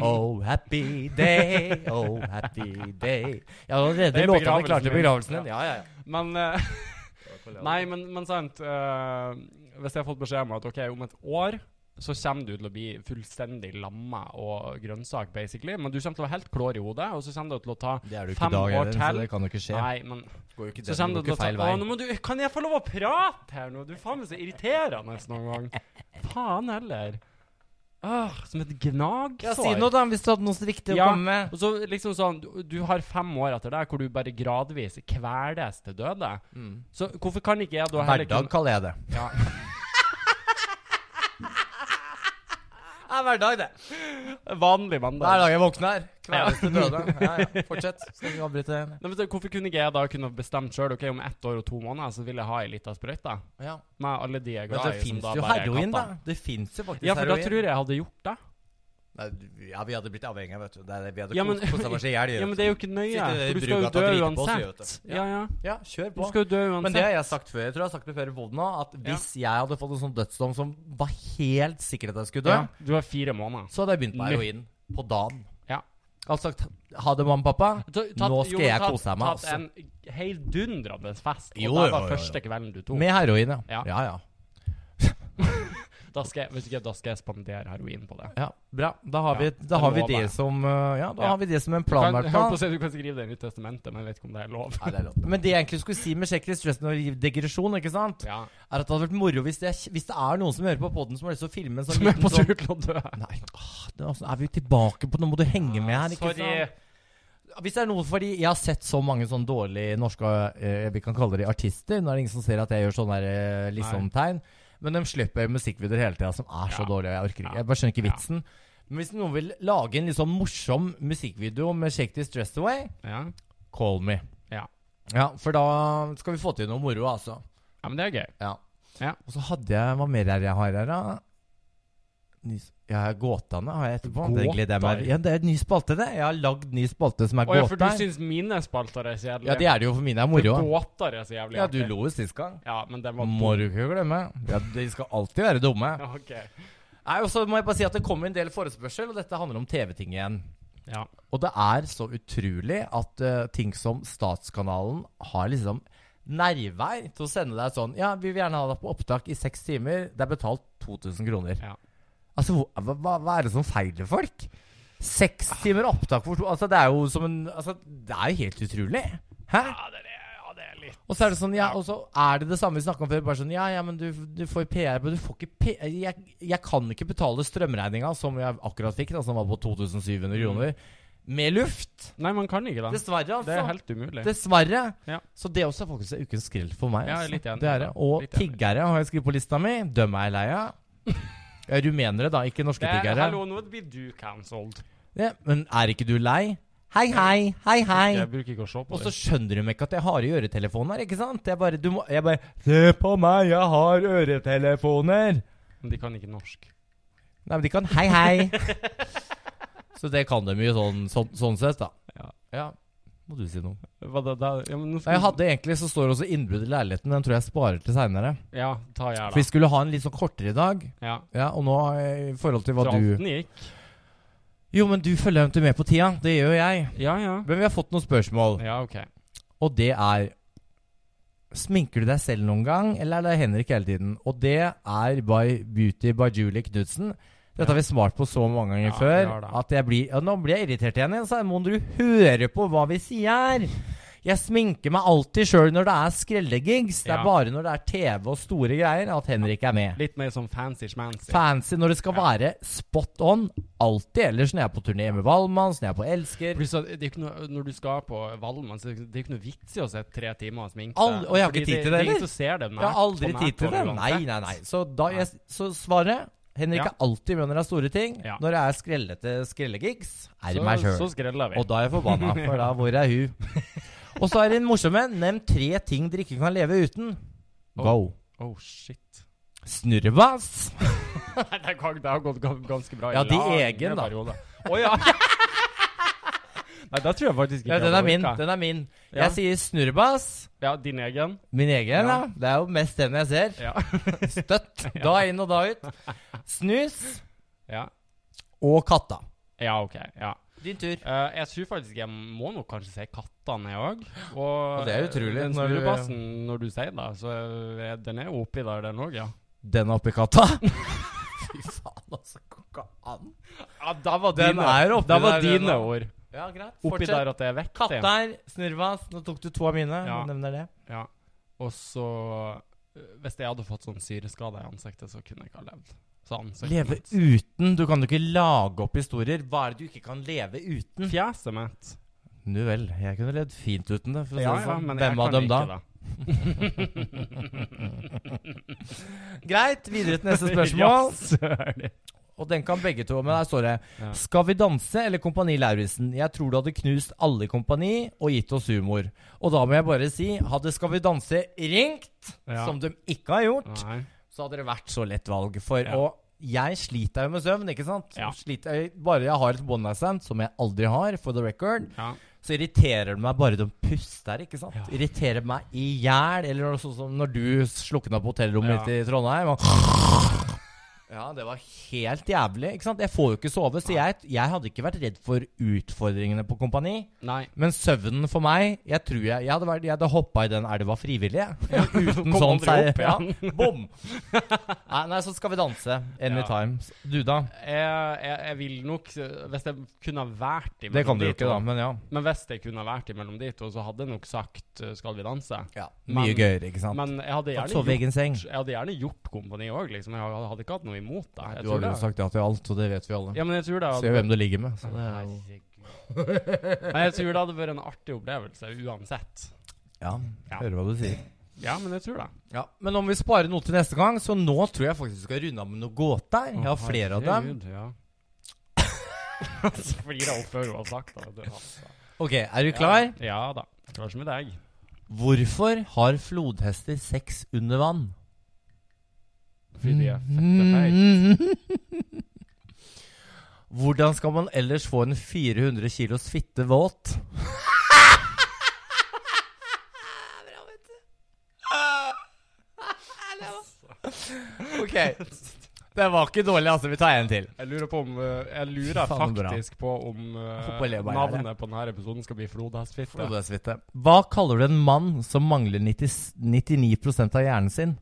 B: oh happy day, oh happy day. Ja,
A: Det
B: allerede
A: er
B: låta
A: begravelsen
B: klart til
A: min.
B: begravelsen din. Ja, ja, ja.
A: Men eh, Nei, men, men sant. eh, hvis jeg har fått beskjed om at OK, om et år så kommer du til å bli fullstendig lamma og grønnsak, basically. Men du kommer til å være helt klår i hodet, og så kommer du til å ta
B: Det er du ikke
A: fem
B: i dag
A: år
B: heller, så
A: til.
B: det kan jo ikke skje.
A: Nei, men
B: går jo ikke,
A: så kommer du til å ta Å, nå må du Kan jeg få lov å prate her nå? Du er faen meg så irriterende noen gang. Faen heller. Åh, som et gnagsår.
B: Ja, si noe, da, hvis du hadde noe riktig å
A: Ja.
B: komme med.
A: Og så liksom sånn, du, du har fem år etter deg hvor du bare gradvis kveles til døde. Så hvorfor kan ikke jeg da heller
B: Hverdag kaller jeg det. liksom-
A: Ja.
B: Det er hverdag, det.
A: Vanlig mandag.
B: Hver dag jeg våkner. Kveles til døde. Ja, ja. Fortsett. Skal ikke avbryte.
A: Nei, men så Hvorfor kunne ikke jeg da kunne bestemt sjøl Ok, om ett år og to måneder så vil jeg ha ei lita sprøyte? da?
B: Ja.
A: Med alle de jeg er
B: Men
A: glad
B: det
A: i. som
B: fins
A: da
B: jo
A: bare er
B: heroin, da.
A: katta.
B: Det fins jo faktisk
A: Ja, for da
B: heroin.
A: tror jeg jeg hadde gjort det.
B: Nei, du- ja, vi hadde blitt avhengige, vet du. Det er det- vi hadde
A: Ja, men-
B: kost oss i hjel.
A: Ja, Men det er jo ikke nøye,
B: Sitter der i
A: for du skal jo
B: Brugata
A: dø
B: og driter på oss,
A: uansett.
B: vet du.
A: Ja, ja.
B: Ja, kjør
A: Du
B: på.
A: skal jo dø
B: Men det
A: uansett.
B: har jeg sagt før. Jeg tror jeg har sagt det før i poden òg, at hvis jeg hadde fått en sånn dødsdom som var helt sikker at jeg skulle dø,
A: Ja, du har fire måneder.
B: så hadde jeg begynt med
A: Nytt.
B: heroin på dagen.
A: Ja.
B: Jeg hadde sagt ha det, mamma og pappa. Nå skal jeg kose meg,
A: altså. Tatt en heildundrende fest, og
B: Jo,
A: det var
B: jo, jo, jo.
A: første kvelden du tok.
B: Med heroin, ja.
A: Ja.
B: ja, ja.
A: Da skal jeg, vet du ikke, da skal jeg spandere heroin på det.
B: Ja, Bra. Da har
A: Ja,
B: vi, da
A: det
B: har
A: må
B: vi
A: være.
B: det som uh, Ja, da
A: Ja.
B: har vi det som en
A: Du kan,
B: plan, i
A: jeg
B: hvert
A: holdt på
B: fall.
A: å si, du kan skrive det i Nytt testamentet, men jeg vet ikke om det er lov.
B: Nei, det er rått. Men det jeg egentlig skulle si med Sjekk Restressen og digresjon, ikke sant,
A: Ja.
B: er at det hadde vært moro hvis det, er- hvis det er noen som hører på poden som har lyst til å filme en sånn
A: Som er
B: liten
A: på
B: sånn-
A: tur til å dø.
B: Nei, ah, det, altså, er vi tilbake på Nå må du henge med her, ikke
A: Sorry.
B: sant? Hvis det er noe fordi jeg har sett så mange sånn dårlige norske eh, Vi kan kalle de artister. Nå er det ingen som ser at jeg gjør sånne der, eh, liksom-tegn. Men de slipper jo musikkvideoer hele tida som er så
A: Ja.
B: dårlige. Jeg orker
A: Ja.
B: ikke Jeg bare skjønner ikke
A: Ja.
B: vitsen. Men hvis noen vil lage en litt sånn morsom musikkvideo med Shake This Dressed Away,
A: Ja.
B: call me.
A: Ja.
B: ja. For da skal vi få til noe moro, altså.
A: ja, men det er gøy.
B: Ja.
A: Ja.
B: Og så hadde jeg Hva mer er det jeg har her, da? Ny, s- ja, gåtene har jeg etterpå. Det gleder jeg meg
A: Gåter?
B: Ja, det er en ny spalte, det. Jeg har lagd ny spalte som er
A: Å ja, for du
B: gåter.
A: syns mine spalter er kjedelige?
B: Ja, det er det jo for mine er moro.
A: Båter er så jævlig
B: Ja, du
A: artig.
B: lo jo sist gang.
A: Ja, men den var
B: Må du ikke glemme. Ja, De skal alltid være dumme.
A: Ja, OK.
B: Nei, og så må jeg bare si at Det kommer en del forespørsel, og dette handler om TV-ting igjen.
A: Ja.
B: Og det er så utrolig at eh, ting som Statskanalen har liksom nerver til å sende deg sånn Ja, vi vil gjerne ha deg på opptak i seks timer. Det er betalt 2000 kroner.
A: Ja.
B: Altså, hvor- hva, hva, hva er det som feiler folk? Seks timer opptak for to Altså, det er jo som en Altså, det er jo helt utrolig. Hæ?
A: Ja, det er, ja, det er litt
B: Og så er det sånn, ja, og så er det det samme vi snakka om før. Bare sånn, ja, ja, men du, du får PR, men du får ikke P jeg, jeg kan ikke betale strømregninga som jeg akkurat fikk, da, som var på 2700 kroner, med luft.
A: Nei, man kan ikke det.
B: Dessverre, altså.
A: Det er helt umulig.
B: Dessverre.
A: Ja.
B: Så det også er faktisk ukens skrell for meg.
A: Ja, jeg er
B: altså.
A: litt enig
B: det
A: med
B: er det.
A: deg.
B: Og
A: Litt enig.
B: tiggere har jeg skrevet på lista mi. Døm meg lei av. Ja, Rumenere, da, ikke norske
A: Det er,
B: tiggere.
A: hallo, nå blir du cancelled.
B: Ja, men er ikke du lei? Hei, hei. Hei, hei.
A: Jeg bruker ikke å se på
B: Og så
A: det.
B: skjønner de ikke at jeg har i øretelefoner, ikke sant? Jeg bare, du må, jeg bare Se på meg, jeg har øretelefoner!
A: Men de kan ikke norsk.
B: Nei, men de kan hei, hei. så det kan de jo sånn, sånn, sånn sett, da.
A: Ja.
B: Må du si noe?
A: Hva da, da? Ja, men nå
B: Nei, Jeg hadde egentlig så står det også innbrudd i leiligheten. Den tror jeg sparer til seinere.
A: Ja, ta jeg,
B: For
A: da.
B: vi skulle ha en litt sånn kortere i dag.
A: Ja.
B: Ja, og nå eh, i forhold til hva
A: Så
B: du
A: Alten gikk.
B: Jo, men du følger jo ikke med på tida. Det gjør jo jeg.
A: Ja, ja.
B: Men vi har fått noen spørsmål,
A: Ja, OK.
B: og det er Sminker du deg selv noen gang, eller er det Henrik hele tiden? Og det er by Beauty by Julie Knudsen. Dette
A: Ja.
B: har vi svart på så mange ganger
A: Ja, vi
B: før.
A: har det.
B: At jeg blir, ja, nå blir jeg irritert igjen. Så må du høre på hva vi sier! Jeg sminker meg alltid sjøl når det er skrellegigs. Det
A: Ja.
B: er bare når det er TV og store greier at Henrik er med.
A: Litt mer sånn fancy schmancy.
B: Fancy når det skal
A: Ja.
B: være spot on. Alltid ellers når jeg er på turné med Valmanns, når jeg er på Elsker.
A: Pluss at det er ikke noe, når du skal på Valmann, så det er ikke noe vits i å se tre timer og sminke
B: All- og jeg har ikke
A: Fordi
B: tid til det,
A: ingen
B: eller?
A: som ser det.
B: Jeg har aldri
A: på
B: tid til det.
A: nært hold sånn
B: Nei,
A: uansett.
B: nei, nei. Så, da jeg, så svaret Henrik
A: Ja.
B: er alltid med når det er store ting.
A: Ja.
B: Når det er skrellete skrellegigs, er det meg
A: Så, så
B: sjøl.
A: skreller vi.
B: Og da er jeg forbanna, for da hvor er hun? Og så er det en morsom en. Nevn tre ting dere ikke kan leve uten. Go.
A: Oh, shit.
B: Snurrebass.
A: Nei, det har- det har gått gans- ganske bra. i
B: Ja, de
A: lange
B: egen, da.
A: perioder. Å ja! Nei, da tror jeg faktisk ikke
B: Ja,
A: jeg
B: den
A: hadde
B: er min.
A: orket.
B: Den er min.
A: Ja.
B: Jeg sier snurrebass.
A: Ja, din egen.
B: Min egen,
A: Ja.
B: ja. Det er jo mest den jeg ser.
A: Ja.
B: Støtt. Da inn og da ut. Snus
A: ja.
B: og katta.
A: Ja, OK. Ja.
B: Din tur.
A: Eh, jeg tror faktisk jeg må nok kanskje si kattene, jeg òg. Og,
B: det er utrolig,
A: Den
B: når du-
A: snurrebassen, når du sier det, så er- den er jo oppi der, den òg, ja.
B: Den oppi katta. Fy faen, altså. Går ikke an.
A: Ja, da var
B: Den
A: dine,
B: er oppi
A: da var
B: der, den
A: dine
B: da.
A: ord.
B: Ja, greit.
A: Oppi
B: Fortsett.
A: der at det er vektig.
B: Katter, snurvas. Nå tok du to av mine.
A: Ja.
B: Jeg Nevner det.
A: Ja. Og så øh, Hvis jeg hadde fått sånn syreskade i ansiktet, så kunne jeg ikke ha levd. Sånn, så
B: Leve uten. Du kan jo ikke lage opp historier. Hva er det du ikke kan leve uten?
A: Fjeset mitt.
B: Nu vel. Jeg kunne levd fint uten det. For å si
A: Ja,
B: det
A: ja,
B: sånn.
A: men jeg
B: Hvem av
A: kan
B: dem da?
A: ikke det.
B: Greit. Videre til neste spørsmål.
A: Ja, søren.
B: Og den kan begge to, men der står det
A: Ja.
B: Skal vi danse eller Kompani Lauritzen? Jeg tror du hadde knust alle i Kompani og gitt oss humor. Og da må jeg bare si, hadde Skal vi danse ringt,
A: Ja.
B: som de ikke har gjort,
A: Nei.
B: så hadde det vært så lett valg. For
A: Ja.
B: og jeg sliter jo med søvn, ikke sant?
A: Ja.
B: Sliter, jeg, bare jeg har et one night stand, som jeg aldri har, for the record,
A: Ja.
B: så irriterer det meg bare de puster, ikke sant?
A: Ja.
B: Irriterer meg i hjel. Eller når- sånn som når du slukna på hotellrommet
A: Ja.
B: mitt i Trondheim. Og ja, det var helt jævlig. ikke sant? Jeg får jo ikke sove, så jeg, jeg hadde ikke vært redd for utfordringene på kompani.
A: Nei.
B: Men søvnen for meg Jeg tror jeg jeg hadde, vært- jeg hadde hoppa i den elva frivillig. jeg. Uten
A: Kom
B: sånn
A: aldri
B: seier.
A: opp
B: Ja.
A: igjen.
B: Bom! Nei, nei, så skal vi danse. Anytime. Du, da?
A: Jeg, jeg, jeg vil nok øh, Hvis jeg kunne ha vært imellom
B: Det kan du
A: de
B: jo ikke,
A: to-
B: da. Men ja.
A: Men hvis jeg kunne ha vært imellom de to, så hadde jeg nok sagt øh, 'Skal vi danse'?
B: ja
A: Men-
B: mye gøyere, ikke sant?
A: Men jeg hadde
B: At
A: gjerne
B: Sove i
A: gjort
B: egen seng.
A: jeg hadde gjerne gjort kompani òg, liksom. Jeg hadde- hadde ikke hatt noe imot det. Jeg
B: Du
A: tror
B: har jo
A: det.
B: sagt ja til alt, og det vet vi alle.
A: Ja, men jeg tror det
B: Se
A: hadde
B: hvem du ligger med. Så det er jo...
A: Herregud. Nei, jeg tror det hadde vært en artig opplevelse uansett.
B: Ja,
A: Ja.
B: hører hva du sier.
A: Ja, men jeg tror det.
B: Ja, Men om vi sparer noe til neste gang, så nå tror jeg faktisk vi skal runde av med noen gåter. Jeg har flere av dem.
A: Herregud, Ja. Så flirer jeg opp før hun har sagt det. vet du, altså.
B: Ok, Er du klar?
A: Ja da. Klar som i dag.
B: Hvorfor har flodhester sex under vann? Mm-hmm.
A: Fordi de er fette feite.
B: Hvordan skal man ellers få en 400 kilos fitte våt? Ok. Det var ikke dårlig, altså. Vi tar en til.
A: Jeg lurer på om eh, Jeg lurer
B: Faen, bra.
A: faktisk på om eh,
B: Håper jeg lever bare her,
A: navnet på denne episoden skal bli Flodhestfitte.
B: Flodhestfitte. Hva kaller du en mann som mangler 90, 99 av hjernen sin?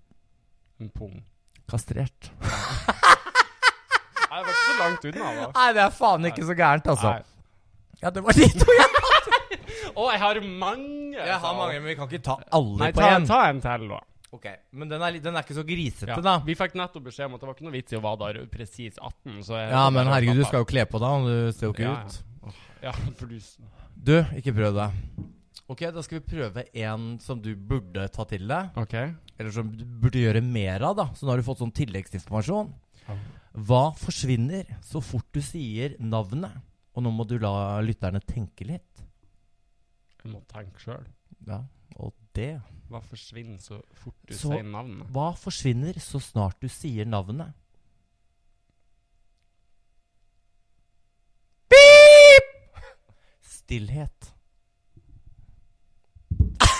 A: En pung. Nei,
B: Kastrert.
A: det var ikke så langt unna, da.
B: Nei, det er faen ikke så gærent, altså.
A: Nei.
B: Ja, det var de to.
A: Å, jeg har mange!
B: Jeg har
A: sa
B: mange,
A: hun.
B: men vi kan ikke ta alle
A: Nei,
B: på
A: ta,
B: én.
A: ta en til, da.
B: Ok, Men den er, litt- den er ikke så grisete,
A: Ja.
B: da.
A: Vi fikk nettopp beskjed om at det var ikke noe vits i å være der presis 18. Så jeg
B: Ja, men herregud, du skal jo kle på deg, og du ser jo ikke
A: Ja, ja.
B: ut.
A: Ja, for du
B: Du, ikke prøv det. Ok, da skal vi prøve en som du burde ta til deg.
A: OK.
B: Eller som du burde gjøre mer av, da. Så nå har du fått sånn tilleggsinformasjon.
A: Ja.
B: Hva forsvinner så fort du sier navnet? Og nå må du la lytterne tenke litt.
A: Jeg må tenke sjøl.
B: Ja, og det
A: Hva forsvinner så fort du
B: Så-
A: sier navnet?
B: Hva forsvinner så snart du sier navnet? Stillhet.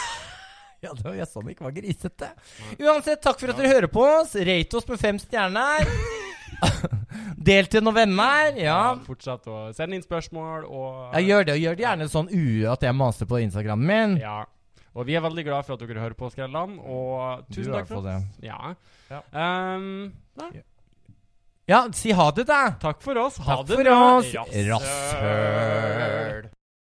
B: Ja, det var jøss om det ikke var grisete. Uansett, takk for at dere hører på oss. Rate oss med fem stjerner. Del til noen venner. Ja.
A: Fortsett å sende inn spørsmål og
B: ja, gjør det. Og gjør det gjerne sånn ue at jeg maser på Instagramen min.
A: Ja. Og vi er veldig glad for at dere hører på Skrelland, og
B: Du
A: tusen
B: er
A: takk for
B: på
A: oss. Ja.
B: Ja.
A: Ehm, nei,
B: Ja, si ha det, da.
A: takk for oss. Ha
B: Takk
A: det
B: for
A: bra.
B: oss. Rasshøl.